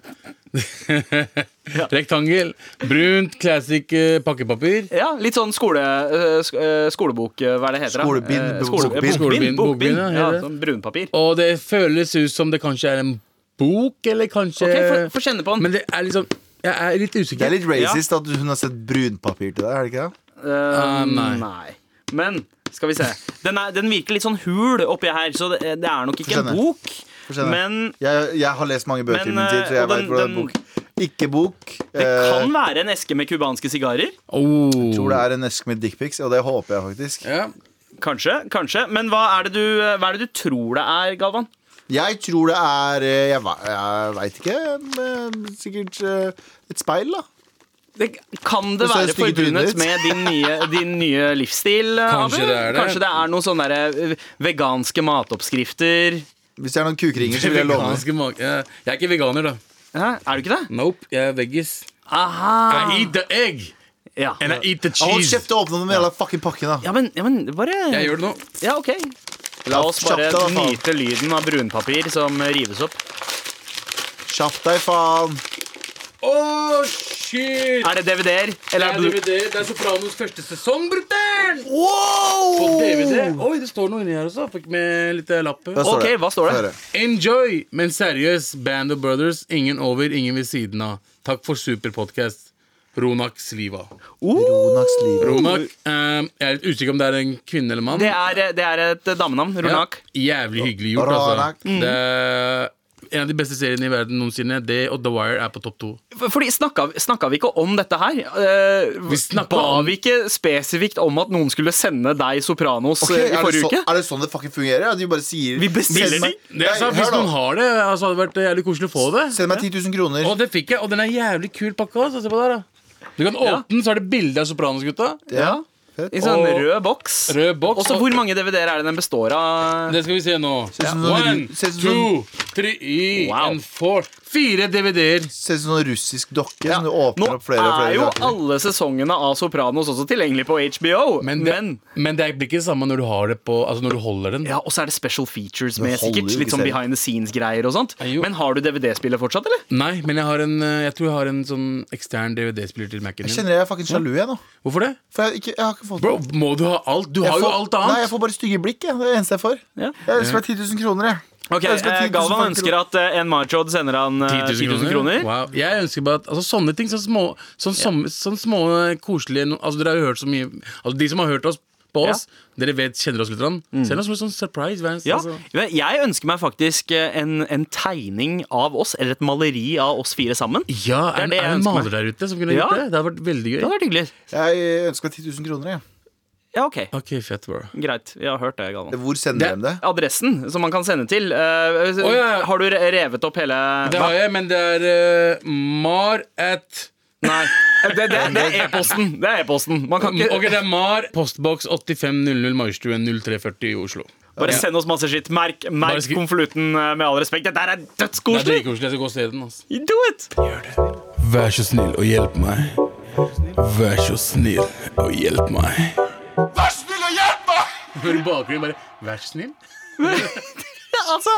[SPEAKER 3] Rektangel. Brunt, classic eh, pakkepapir.
[SPEAKER 2] Ja, Litt sånn skole, eh, sk- eh, skolebok eh, Hva er det heter? da?
[SPEAKER 4] Skolebind,
[SPEAKER 2] Eh,
[SPEAKER 4] bok-
[SPEAKER 2] skole- eh,
[SPEAKER 4] bokbind.
[SPEAKER 2] Bokbind.
[SPEAKER 3] Skolebind,
[SPEAKER 2] bokbind,
[SPEAKER 3] bokbind, ja,
[SPEAKER 2] ja,
[SPEAKER 3] heter det.
[SPEAKER 2] sånn Brunpapir.
[SPEAKER 3] Og det føles ut som det kanskje er en bok, eller kanskje
[SPEAKER 2] Ok, få- Få kjenne på den.
[SPEAKER 3] Eh, Men det er liksom Jeg er litt usikker.
[SPEAKER 4] Det er litt racist at hun har sett brunpapir til deg, er det ikke det?
[SPEAKER 2] Eh,
[SPEAKER 3] ah, nei.
[SPEAKER 2] nei. Men skal vi se. Den, er, den virker litt sånn hul oppi her, så det, det er nok ikke en
[SPEAKER 4] Skjønner.
[SPEAKER 2] bok.
[SPEAKER 4] skjønner.
[SPEAKER 2] Men
[SPEAKER 4] Jeg, jeg har lest mange bøker
[SPEAKER 2] Men,
[SPEAKER 4] i min tid, så
[SPEAKER 2] eh,
[SPEAKER 4] jeg
[SPEAKER 2] og den-
[SPEAKER 4] vet hvordan
[SPEAKER 2] den-
[SPEAKER 4] bok Ikke bok.
[SPEAKER 2] det
[SPEAKER 4] eh,
[SPEAKER 2] kan være en eske med cubanske sigarer.
[SPEAKER 3] Oh.
[SPEAKER 4] tror det er en esk med dickpics, og det håper jeg faktisk.
[SPEAKER 3] Ja.
[SPEAKER 2] Kanskje. kanskje Men hva er, det du, hva er det du tror det er, Galvan?
[SPEAKER 4] Jeg tror det er eh, Jeg, ve- jeg veit ikke. men Sikkert eh, et eh, speil, da.
[SPEAKER 2] det, kan det
[SPEAKER 4] Du ser
[SPEAKER 2] være
[SPEAKER 4] stygge trynet
[SPEAKER 2] forbundet
[SPEAKER 4] ditt.
[SPEAKER 2] med din nye, din nye livsstil? eh,
[SPEAKER 3] Kanskje
[SPEAKER 2] Abu?
[SPEAKER 3] det er det.
[SPEAKER 2] Kanskje det er noen sånne der, eh, veganske matoppskrifter?
[SPEAKER 4] Hvis det er noen kukringer, så vil jeg låne.
[SPEAKER 3] Veganske mag- eh, Jeg er ikke veganer, da.
[SPEAKER 2] Hæ? Er du ikke det?
[SPEAKER 3] Nope, jeg er veggis.
[SPEAKER 2] Aha!
[SPEAKER 3] I eat the egg
[SPEAKER 2] Ja,
[SPEAKER 3] and I eat the
[SPEAKER 4] Ja, Hold
[SPEAKER 3] cheese.
[SPEAKER 4] kjeft og åpne den jævla fucking pakken, da.
[SPEAKER 2] ja men, ja, men bare
[SPEAKER 3] Jeg gjør det nå.
[SPEAKER 2] Ja, ok. La oss bare
[SPEAKER 4] Kjapt deg, da, faen.
[SPEAKER 2] nyte lyden av brunpapir som rives opp.
[SPEAKER 4] Kjapp deg, faen.
[SPEAKER 3] Oh, shit!
[SPEAKER 2] Er det DVD-er?
[SPEAKER 3] Det
[SPEAKER 2] Eller
[SPEAKER 3] er
[SPEAKER 2] er det
[SPEAKER 3] DVD. Det er Sopranos første sesong, brutter'n! På
[SPEAKER 4] Wow!
[SPEAKER 3] DVD. Oi, det står noe inni her også. Fikk med litt eh, lapp.
[SPEAKER 4] Der står
[SPEAKER 2] Ok,
[SPEAKER 4] det.
[SPEAKER 2] hva står det?
[SPEAKER 4] Få høre.
[SPEAKER 3] Enjoy! Men seriøs, Band of Brothers. Ingen over, ingen ved siden av. Takk for superpodkast. Ronak Sliva.
[SPEAKER 2] Oh!
[SPEAKER 4] Ronaks liv.
[SPEAKER 3] Ronak, eh, Jeg er litt usikker om det er en kvinne eller mann.
[SPEAKER 2] Det er, eh, det er et damenavn. Ronak.
[SPEAKER 3] Ja, jævlig hyggelig gjort,
[SPEAKER 4] Ronak. Mm.
[SPEAKER 3] altså. Det er en av de beste seriene i verden noensinne. Det og The Wire er på topp to.
[SPEAKER 2] For- Fordi snakka, snakka vi ikke om dette her? Eh,
[SPEAKER 3] Vi snakka
[SPEAKER 2] ba
[SPEAKER 3] om-
[SPEAKER 2] vi ikke spesifikt om at noen skulle sende deg Sopranos
[SPEAKER 4] Ok,
[SPEAKER 2] eh, i
[SPEAKER 4] er, det
[SPEAKER 2] forrige
[SPEAKER 4] så,
[SPEAKER 2] uke?
[SPEAKER 4] er det sånn det fucking fungerer? At de bare sier
[SPEAKER 2] Vi bestiller
[SPEAKER 4] Send meg-
[SPEAKER 3] Det er sant,
[SPEAKER 4] Nei,
[SPEAKER 3] Hvis
[SPEAKER 4] hør
[SPEAKER 3] noen
[SPEAKER 4] nå.
[SPEAKER 3] har det, altså, hadde det vært jævlig koselig å få det.
[SPEAKER 4] Send meg 10 000 kroner.
[SPEAKER 3] Og det fikk jeg, og den er jævlig kul pakke. altså. Se på der, da. Du kan åpne den, så er det bilde av Sopranos-gutta.
[SPEAKER 4] Ja.
[SPEAKER 2] I sånn
[SPEAKER 3] Og-
[SPEAKER 2] rød boks.
[SPEAKER 3] Rød boks,
[SPEAKER 2] Og så
[SPEAKER 3] og-
[SPEAKER 2] hvor mange DVD-er er det den består av?
[SPEAKER 3] Det skal vi se nå.
[SPEAKER 4] ut som noen
[SPEAKER 3] One,
[SPEAKER 4] ru- ser ut som
[SPEAKER 3] two, three
[SPEAKER 2] Wow.
[SPEAKER 3] and four. Fire DVD-er.
[SPEAKER 4] Ser ut som en sånn russisk dokke som du
[SPEAKER 2] Nå
[SPEAKER 4] åpner opp flere
[SPEAKER 2] er
[SPEAKER 4] og flere
[SPEAKER 2] jo
[SPEAKER 4] ganger.
[SPEAKER 2] alle sesongene av Sopranos også tilgjengelig på HBO.
[SPEAKER 3] Men det, men. det blir ikke det samme når du har det på Altså når du holder den.
[SPEAKER 2] ja, Og så er det special features med
[SPEAKER 4] holder
[SPEAKER 2] sikkert
[SPEAKER 4] jo
[SPEAKER 2] litt
[SPEAKER 4] ikke
[SPEAKER 2] sånn
[SPEAKER 4] serien.
[SPEAKER 2] behind the scenes-greier og sånt.
[SPEAKER 3] Ja, jo.
[SPEAKER 2] Men har du DVD-spillet fortsatt, eller?
[SPEAKER 3] Nei, men jeg har en eh, Jeg tror jeg har en sånn ekstern DVD-spiller til Mac-en
[SPEAKER 4] Jeg
[SPEAKER 3] min.
[SPEAKER 4] kjenner jeg er fucking sjalu, jeg nå.
[SPEAKER 3] Hvorfor det?
[SPEAKER 4] For jeg, har ikke, jeg har ikke fått
[SPEAKER 3] Bro, må du ha alt? Du har
[SPEAKER 4] jeg
[SPEAKER 3] jo
[SPEAKER 4] får,
[SPEAKER 3] alt
[SPEAKER 4] Nei, jeg
[SPEAKER 3] annet.
[SPEAKER 4] får bare stygge blikk. Jeg. Det er det eneste jeg får.
[SPEAKER 2] Ja.
[SPEAKER 4] Jeg ønsker meg 10 000 kroner, jeg.
[SPEAKER 2] Ok,
[SPEAKER 4] Jeg ønsker
[SPEAKER 2] eh,
[SPEAKER 4] 10 000
[SPEAKER 2] Galvan
[SPEAKER 4] kroner.
[SPEAKER 2] ønsker at eh, en Marchod sender han eh, 10 000 kroner.
[SPEAKER 3] Wow. Jeg ønsker bare at altså, Sånne ting, sånn små, sånn, som- sånn små eh, koselige no- Altså Dere har jo hørt så mye Altså De som har hørt oss på
[SPEAKER 2] Ja. Mm.
[SPEAKER 3] oss, dere vet, kjenner oss litt. grann. Send oss en sånn surprise. Vans,
[SPEAKER 2] Ja,
[SPEAKER 3] altså.
[SPEAKER 2] men Jeg ønsker meg faktisk eh, en, en tegning av oss, eller et maleri av oss fire sammen. Det
[SPEAKER 3] ja
[SPEAKER 2] er
[SPEAKER 3] er
[SPEAKER 2] det
[SPEAKER 3] det
[SPEAKER 2] jeg
[SPEAKER 3] en
[SPEAKER 2] ønsker
[SPEAKER 3] maler der ute som kunne
[SPEAKER 2] Ja.
[SPEAKER 3] gjort det? Det hadde vært veldig gøy.
[SPEAKER 2] hadde vært hyggelig.
[SPEAKER 4] Jeg ønsker meg 10 000 kroner, jeg.
[SPEAKER 2] Ja, ok,
[SPEAKER 3] Ok, fett, bro.
[SPEAKER 2] Greit. Jeg har hørt det, Galvan.
[SPEAKER 4] Hvor sender de det?
[SPEAKER 2] Adressen som man kan sende til. eh,
[SPEAKER 3] ja, ja.
[SPEAKER 2] Har du re- revet opp hele
[SPEAKER 3] Det har jeg, men det er eh, mar at
[SPEAKER 2] Nei. Det, det, det er e-posten. Det er e-posten. Man kan ikke
[SPEAKER 3] Ok, det er mar postboks 8500 Majorstuen 0340 i Oslo.
[SPEAKER 2] Bare send oss masse skitt. Merk, merk
[SPEAKER 3] Bare skri-
[SPEAKER 2] konvolutten eh, med all respekt. Dette her er
[SPEAKER 3] Det er
[SPEAKER 2] dødskoselig!
[SPEAKER 3] dritkoselig. Jeg skal gå altså. og se den. ass.
[SPEAKER 2] Do it!
[SPEAKER 3] Vær så snill og hjelp meg. Vær så snill og hjelp meg. Vær så snill og hjelp meg! Hører i bakgrunnen bare Vær så snill.
[SPEAKER 2] Ja, altså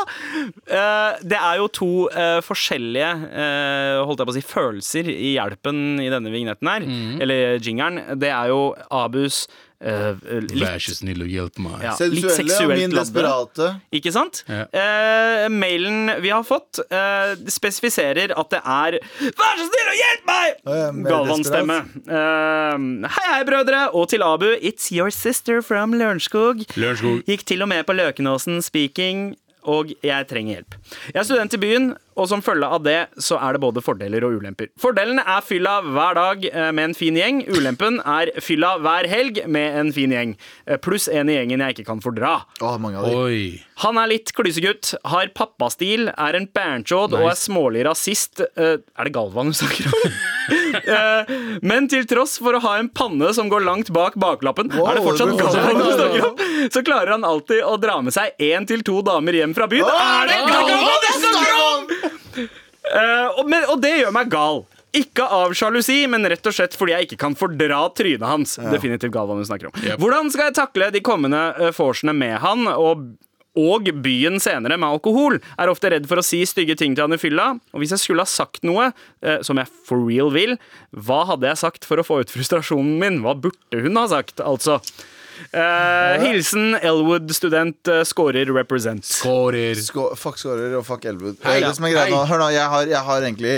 [SPEAKER 2] eh, Det er jo to eh, forskjellige eh, Holdt jeg på å si følelser i hjelpen i denne vignetten her.
[SPEAKER 3] Mhm.
[SPEAKER 2] Eller jingeren. Det er jo Abus eh, litt,
[SPEAKER 3] Vær så snill og hjelp meg.
[SPEAKER 2] ja, litt
[SPEAKER 4] Sensuelle og
[SPEAKER 2] seksuelt
[SPEAKER 4] min
[SPEAKER 2] ladde.
[SPEAKER 4] desperate.
[SPEAKER 2] Ikke sant?
[SPEAKER 3] Ja.
[SPEAKER 2] Eh, mailen vi har fått, eh, spesifiserer at det er Vær så snill og hjelp
[SPEAKER 4] ja,
[SPEAKER 2] meg!
[SPEAKER 4] mer
[SPEAKER 2] Galvan-stemme. Eh, hei, hei, brødre. Og til Abu, it's your sister from Lørenskog.
[SPEAKER 3] Lørenskog.
[SPEAKER 2] Gikk til og med på Løkenåsen speaking. Og jeg trenger hjelp. Jeg er student i byen, og som følge av det så er det både fordeler og ulemper. Fordelene er fylla hver dag eh, med en fin gjeng. Ulempen er fylla hver helg med en fin gjeng. Eh, Pluss en i gjengen jeg ikke kan fordra.
[SPEAKER 4] Å, mange av de.
[SPEAKER 3] Oi.
[SPEAKER 2] Han er litt klysegutt, har pappastil, er en bernchod og er smålig rasist. Eh, er det Galvan du snakker om? Eh, men til tross for å ha en panne som går langt bak baklappen, er det fortsatt
[SPEAKER 4] det går fortsatt
[SPEAKER 2] Galvan du
[SPEAKER 4] Galvan,
[SPEAKER 2] snakker om, så klarer han alltid å dra med seg én til to damer hjem fra byen. er det Galvan du snakker om?! Eh, og, men, og det gjør meg gal. Ikke av sjalusi, men rett og slett fordi jeg ikke kan fordra trynet hans. Definitivt Galvan du snakker om. Hvordan skal jeg takle de kommende eh, vorsene med han, og, og byen senere med alkohol? Er ofte redd for å si stygge ting til han i fylla. Og hvis jeg skulle ha sagt noe, eh, som jeg for real vil, hva hadde jeg sagt for å få ut frustrasjonen min? Hva burde hun ha sagt, altså? Eh, hilsen Elwood-student eh, scorer represent.
[SPEAKER 3] Kårer.
[SPEAKER 4] Skå- Fuck Skårer og fuck Elwood.
[SPEAKER 3] Hei,
[SPEAKER 4] Eh,
[SPEAKER 3] ja.
[SPEAKER 4] det som er greia nå,
[SPEAKER 3] Hei.
[SPEAKER 4] hør nå, jeg har, jeg har egentlig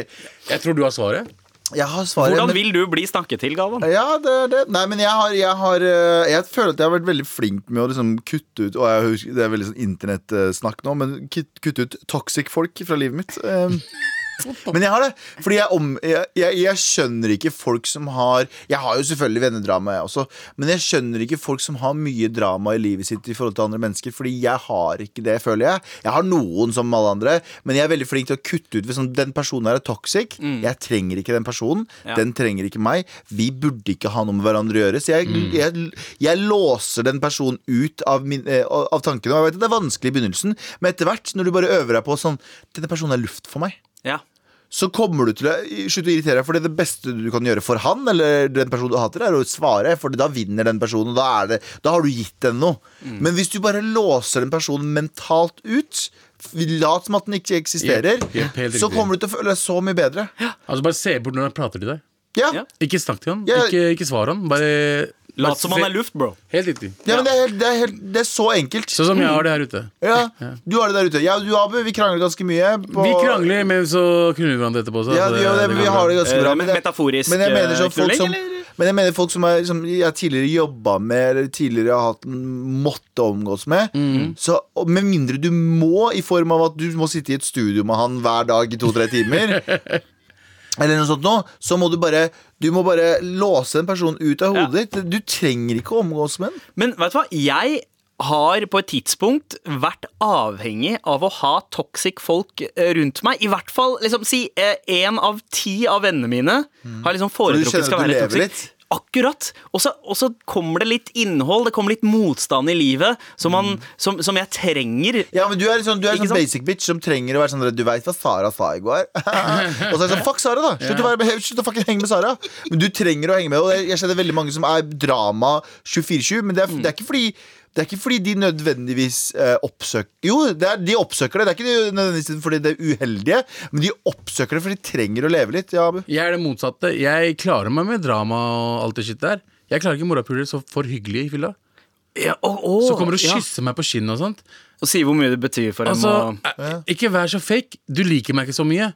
[SPEAKER 3] Jeg tror du har svaret.
[SPEAKER 4] Jeg har svaret.
[SPEAKER 2] Hvordan
[SPEAKER 4] men-
[SPEAKER 2] vil du bli snakket til, Galvan?
[SPEAKER 4] Ja, det er det. Nei, men jeg har, jeg har eh, Jeg føler at jeg har vært veldig flink med å liksom kutte ut Og jeg husker, det er veldig sånn internettsnakk nå, men kut- kutte ut toxic folk fra livet mitt. Eh, Men jeg har det. Fordi jeg, om, jeg, jeg, jeg skjønner ikke folk som har Jeg har jo selvfølgelig vennedrama, jeg også. Men jeg skjønner ikke folk som har mye drama i livet sitt i forhold til andre mennesker. Fordi jeg har ikke det, føler jeg. Jeg har noen som alle andre, men jeg er veldig flink til å kutte ut hvis sånn, den personen her er toxic. Jeg trenger ikke den personen.
[SPEAKER 2] Ja.
[SPEAKER 4] Den trenger ikke meg. Vi burde ikke ha noe med hverandre å gjøre. Så jeg, jeg, jeg låser den personen ut av, min, eh, av tankene. Og jeg vet at det er vanskelig i begynnelsen, men etter hvert, når du bare øver deg på sånn Denne personen er luft for meg
[SPEAKER 2] Ja.
[SPEAKER 4] så kommer du til å slutte å irritere deg. For det beste du kan gjøre for han eller den personen du hater, er å svare. For da vinner den personen, og da, er det, da har du gitt den noe.
[SPEAKER 3] Mm.
[SPEAKER 4] Men hvis du bare låser den personen mentalt ut, lat som at den ikke eksisterer,
[SPEAKER 3] Jepp, jepp, helt
[SPEAKER 4] så
[SPEAKER 3] riktig.
[SPEAKER 4] kommer du til å føle deg så mye bedre.
[SPEAKER 3] Altså Bare se bort når han prater til deg.
[SPEAKER 4] Ja.
[SPEAKER 2] Ja.
[SPEAKER 4] Ja.
[SPEAKER 3] Ikke snakk til han.
[SPEAKER 4] Ja.
[SPEAKER 3] Ikke, ikke svar han. Bare
[SPEAKER 2] Lat som han er luft, bro.
[SPEAKER 3] Helt riktig.
[SPEAKER 4] men det er, helt, det, er helt, det er så enkelt.
[SPEAKER 3] Sånn som jeg har det her ute.
[SPEAKER 4] Ja, Du har det der ute. Jeg og du, Abu, vi krangler ganske mye. på-
[SPEAKER 3] Vi krangler, men så knuller vi hverandre etterpå. Så
[SPEAKER 4] Ja, det, ja, det, vi har det ganske
[SPEAKER 2] Eh,
[SPEAKER 4] bra.
[SPEAKER 2] men
[SPEAKER 4] det-
[SPEAKER 2] metaforisk,
[SPEAKER 4] men jeg mener
[SPEAKER 2] eh,
[SPEAKER 4] sånn folk
[SPEAKER 2] knulling,
[SPEAKER 4] som
[SPEAKER 2] eller?
[SPEAKER 4] men jeg mener folk som, er, som jeg tidligere jobba med, eller tidligere har hatt måtte omgås med.
[SPEAKER 2] Mm.
[SPEAKER 4] Så og Med mindre du må, i form av at du må sitte i et studio med han hver dag i to-tre timer, eller noe sånt nå, så må du bare Du må bare låse en person ut av
[SPEAKER 2] Ja.
[SPEAKER 4] hodet ditt. Du trenger ikke å omgås med den.
[SPEAKER 2] Men vet du hva? Jeg har på et tidspunkt vært avhengig av å ha toxic folk eh, rundt meg. I hvert fall liksom si én av ti av vennene mine har liksom
[SPEAKER 4] Mm. du
[SPEAKER 2] foretrukket
[SPEAKER 4] kjenner
[SPEAKER 2] skal
[SPEAKER 4] at du
[SPEAKER 2] være
[SPEAKER 4] lever
[SPEAKER 2] toxic. Akkurat. Og så og så kommer det litt innhold, det kommer litt motstand i livet som,
[SPEAKER 4] Mm.
[SPEAKER 2] man, som, som jeg trenger.
[SPEAKER 4] Ja, men Du er en sånn, du er en
[SPEAKER 2] Ikke
[SPEAKER 4] sånn
[SPEAKER 2] sant?
[SPEAKER 4] basic bitch som trenger å være sånn der, Du veit hva Sara sa i går. og så er det sånn, fuck Sara, da! Slutt å, være, med- slutt å fucking henge med Sara. Men du trenger å henge med. Og jeg- jeg kjenner veldig mange som er drama 24-7, men det er, det er ikke fordi det er ikke fordi de nødvendigvis eh, oppsøker Jo, det er, de oppsøker det. Det er ikke nødvendigvis fordi det er uheldige, men de oppsøker det fordi de trenger å leve litt. Ja, Abu.
[SPEAKER 3] Jeg er det motsatte. Jeg klarer meg med drama og alt det shit der. Jeg klarer ikke morapuler så for hyggelig i fylla.
[SPEAKER 2] Ja, å, å,
[SPEAKER 3] Så kommer du og
[SPEAKER 2] ja.
[SPEAKER 3] kysser meg på kinnet og sånt.
[SPEAKER 2] Og si hvor mye det betyr for dem.
[SPEAKER 3] Altså,
[SPEAKER 2] og-
[SPEAKER 3] eh, ikke vær så fake. Du liker meg ikke så mye.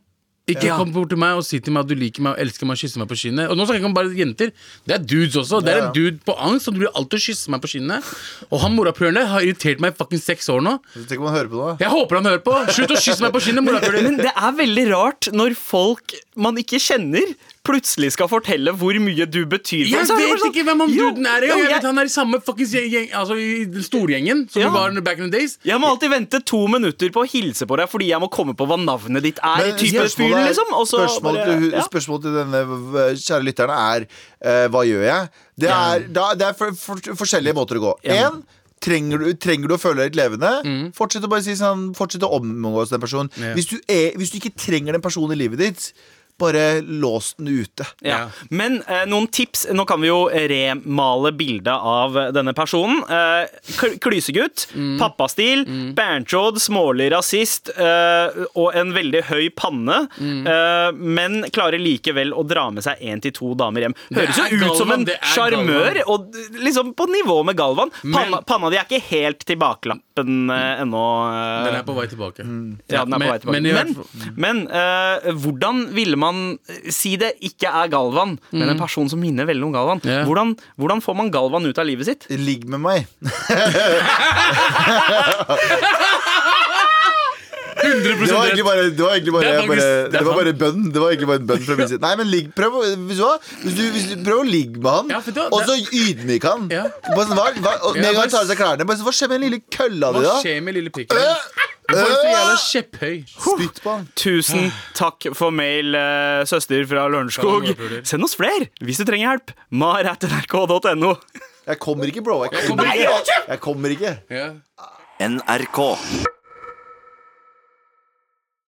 [SPEAKER 3] Ikke
[SPEAKER 2] Ja.
[SPEAKER 3] kom bort til meg og si til meg at du liker meg og elsker meg og kysser meg på kinnet. Og nå snakker jeg ikke om bare jenter. Det er dudes også. Det er en dude på angst som driver alltid og kysser meg på kinnet. Og han morapuleren der har irritert meg i fucking seks år nå.
[SPEAKER 4] Tenk om han hører på det. da.
[SPEAKER 3] Jeg håper han hører på! Slutt å kysse meg på kinnet, morapuler!
[SPEAKER 2] Men det er veldig rart når folk man ikke kjenner, plutselig skal fortelle hvor mye du betyr for dem.
[SPEAKER 3] Jeg
[SPEAKER 2] Så er det
[SPEAKER 3] vet
[SPEAKER 2] bare sånn,
[SPEAKER 3] ikke hvem han
[SPEAKER 2] jo,
[SPEAKER 3] duden er engang.
[SPEAKER 2] jo,
[SPEAKER 3] Jeg
[SPEAKER 2] jeg-
[SPEAKER 3] vet Han er i samme fuckings gjeng, gjeng- altså i den storgjengen som
[SPEAKER 2] Ja.
[SPEAKER 3] vi var back in the days.
[SPEAKER 2] Jeg må alltid vente to minutter på å hilse på deg fordi jeg må komme på hva navnet ditt er.
[SPEAKER 4] Men
[SPEAKER 2] type fyr,
[SPEAKER 4] er-
[SPEAKER 2] liksom og så
[SPEAKER 4] spørsmålet,
[SPEAKER 2] bare-
[SPEAKER 4] til,
[SPEAKER 2] ja.
[SPEAKER 4] spørsmålet til denne v- kjære lytterne er eh, Hva gjør jeg? Det er, da, det er for, for, forskjellige måter å gå.
[SPEAKER 2] Ja. Mm.
[SPEAKER 4] En, Trenger du, trenger du å føle deg litt levende? Fortsett å bare si sånn Fortsett å omgås den personen.
[SPEAKER 3] Ja.
[SPEAKER 4] Hvis, du er, hvis du ikke trenger den personen i livet ditt, bare lås den ute.
[SPEAKER 2] Ja. Men eh, noen tips. Nå kan vi jo remale bildet av eh, denne personen. Eh, kl- klysegutt,
[SPEAKER 3] Mm.
[SPEAKER 2] pappastil, banchod, smålig rasist eh, og en veldig høy panne.
[SPEAKER 3] Mm.
[SPEAKER 2] Eh, men klarer likevel å dra med seg én til to damer hjem.
[SPEAKER 3] Det
[SPEAKER 2] Høres jo
[SPEAKER 3] er
[SPEAKER 2] ut som
[SPEAKER 3] Galvan,
[SPEAKER 2] en
[SPEAKER 3] det er
[SPEAKER 2] sjarmør,
[SPEAKER 3] Galvan.
[SPEAKER 2] og d- liksom på nivå med Galvan. Panna, panna di er ikke helt til baklappen eh, ennå. eh,
[SPEAKER 3] Den er på vei tilbake.
[SPEAKER 4] Mm.
[SPEAKER 2] ja, den er på
[SPEAKER 3] men-
[SPEAKER 2] vei tilbake.
[SPEAKER 3] men
[SPEAKER 2] Men,
[SPEAKER 3] i hvert fall- Mm.
[SPEAKER 2] men, eh, hvordan ville man eh, Si det ikke er Galvan, men en person som minner veldig om Galvan.
[SPEAKER 3] Mm. Ja.
[SPEAKER 2] Hvordan, hvordan får man Galvan ut av livet sitt?
[SPEAKER 4] Ligg med meg.
[SPEAKER 3] 100
[SPEAKER 4] Det var egentlig bare, det var egentlig bare,
[SPEAKER 3] Det er
[SPEAKER 4] jeg bare,
[SPEAKER 3] faktisk- det er
[SPEAKER 4] det var bare
[SPEAKER 3] sant.
[SPEAKER 4] bønn. Det var egentlig bare en bønn fra min side. Nei, men ligg, prøv, å- hvis du, hva? hvis du, hvis du, prøv å ligge med han,
[SPEAKER 3] Ja, for da-
[SPEAKER 4] og så ydmyk han.
[SPEAKER 3] Ja.
[SPEAKER 4] Bare sånn, hva, hva, og
[SPEAKER 3] Ja,
[SPEAKER 4] med en gang
[SPEAKER 3] bare-
[SPEAKER 4] han tar av seg klærne, bare sånn, hva skjer med den lille kølla di,
[SPEAKER 3] Hva
[SPEAKER 4] da?
[SPEAKER 3] skjer med lille pikken? Du er så jævla kjepphøy.
[SPEAKER 4] Spytt på han.
[SPEAKER 2] Tusen
[SPEAKER 3] Ah.
[SPEAKER 2] takk for mail, eh, søster fra Lørenskog.
[SPEAKER 3] Kan jeg bare prøve?
[SPEAKER 2] Send oss fler hvis du trenger hjelp. mar.nrk.no.
[SPEAKER 4] Jeg kommer ikke, bro. Jeg kommer ikke. Jeg kommer ikke.
[SPEAKER 3] Ja.
[SPEAKER 1] NRK.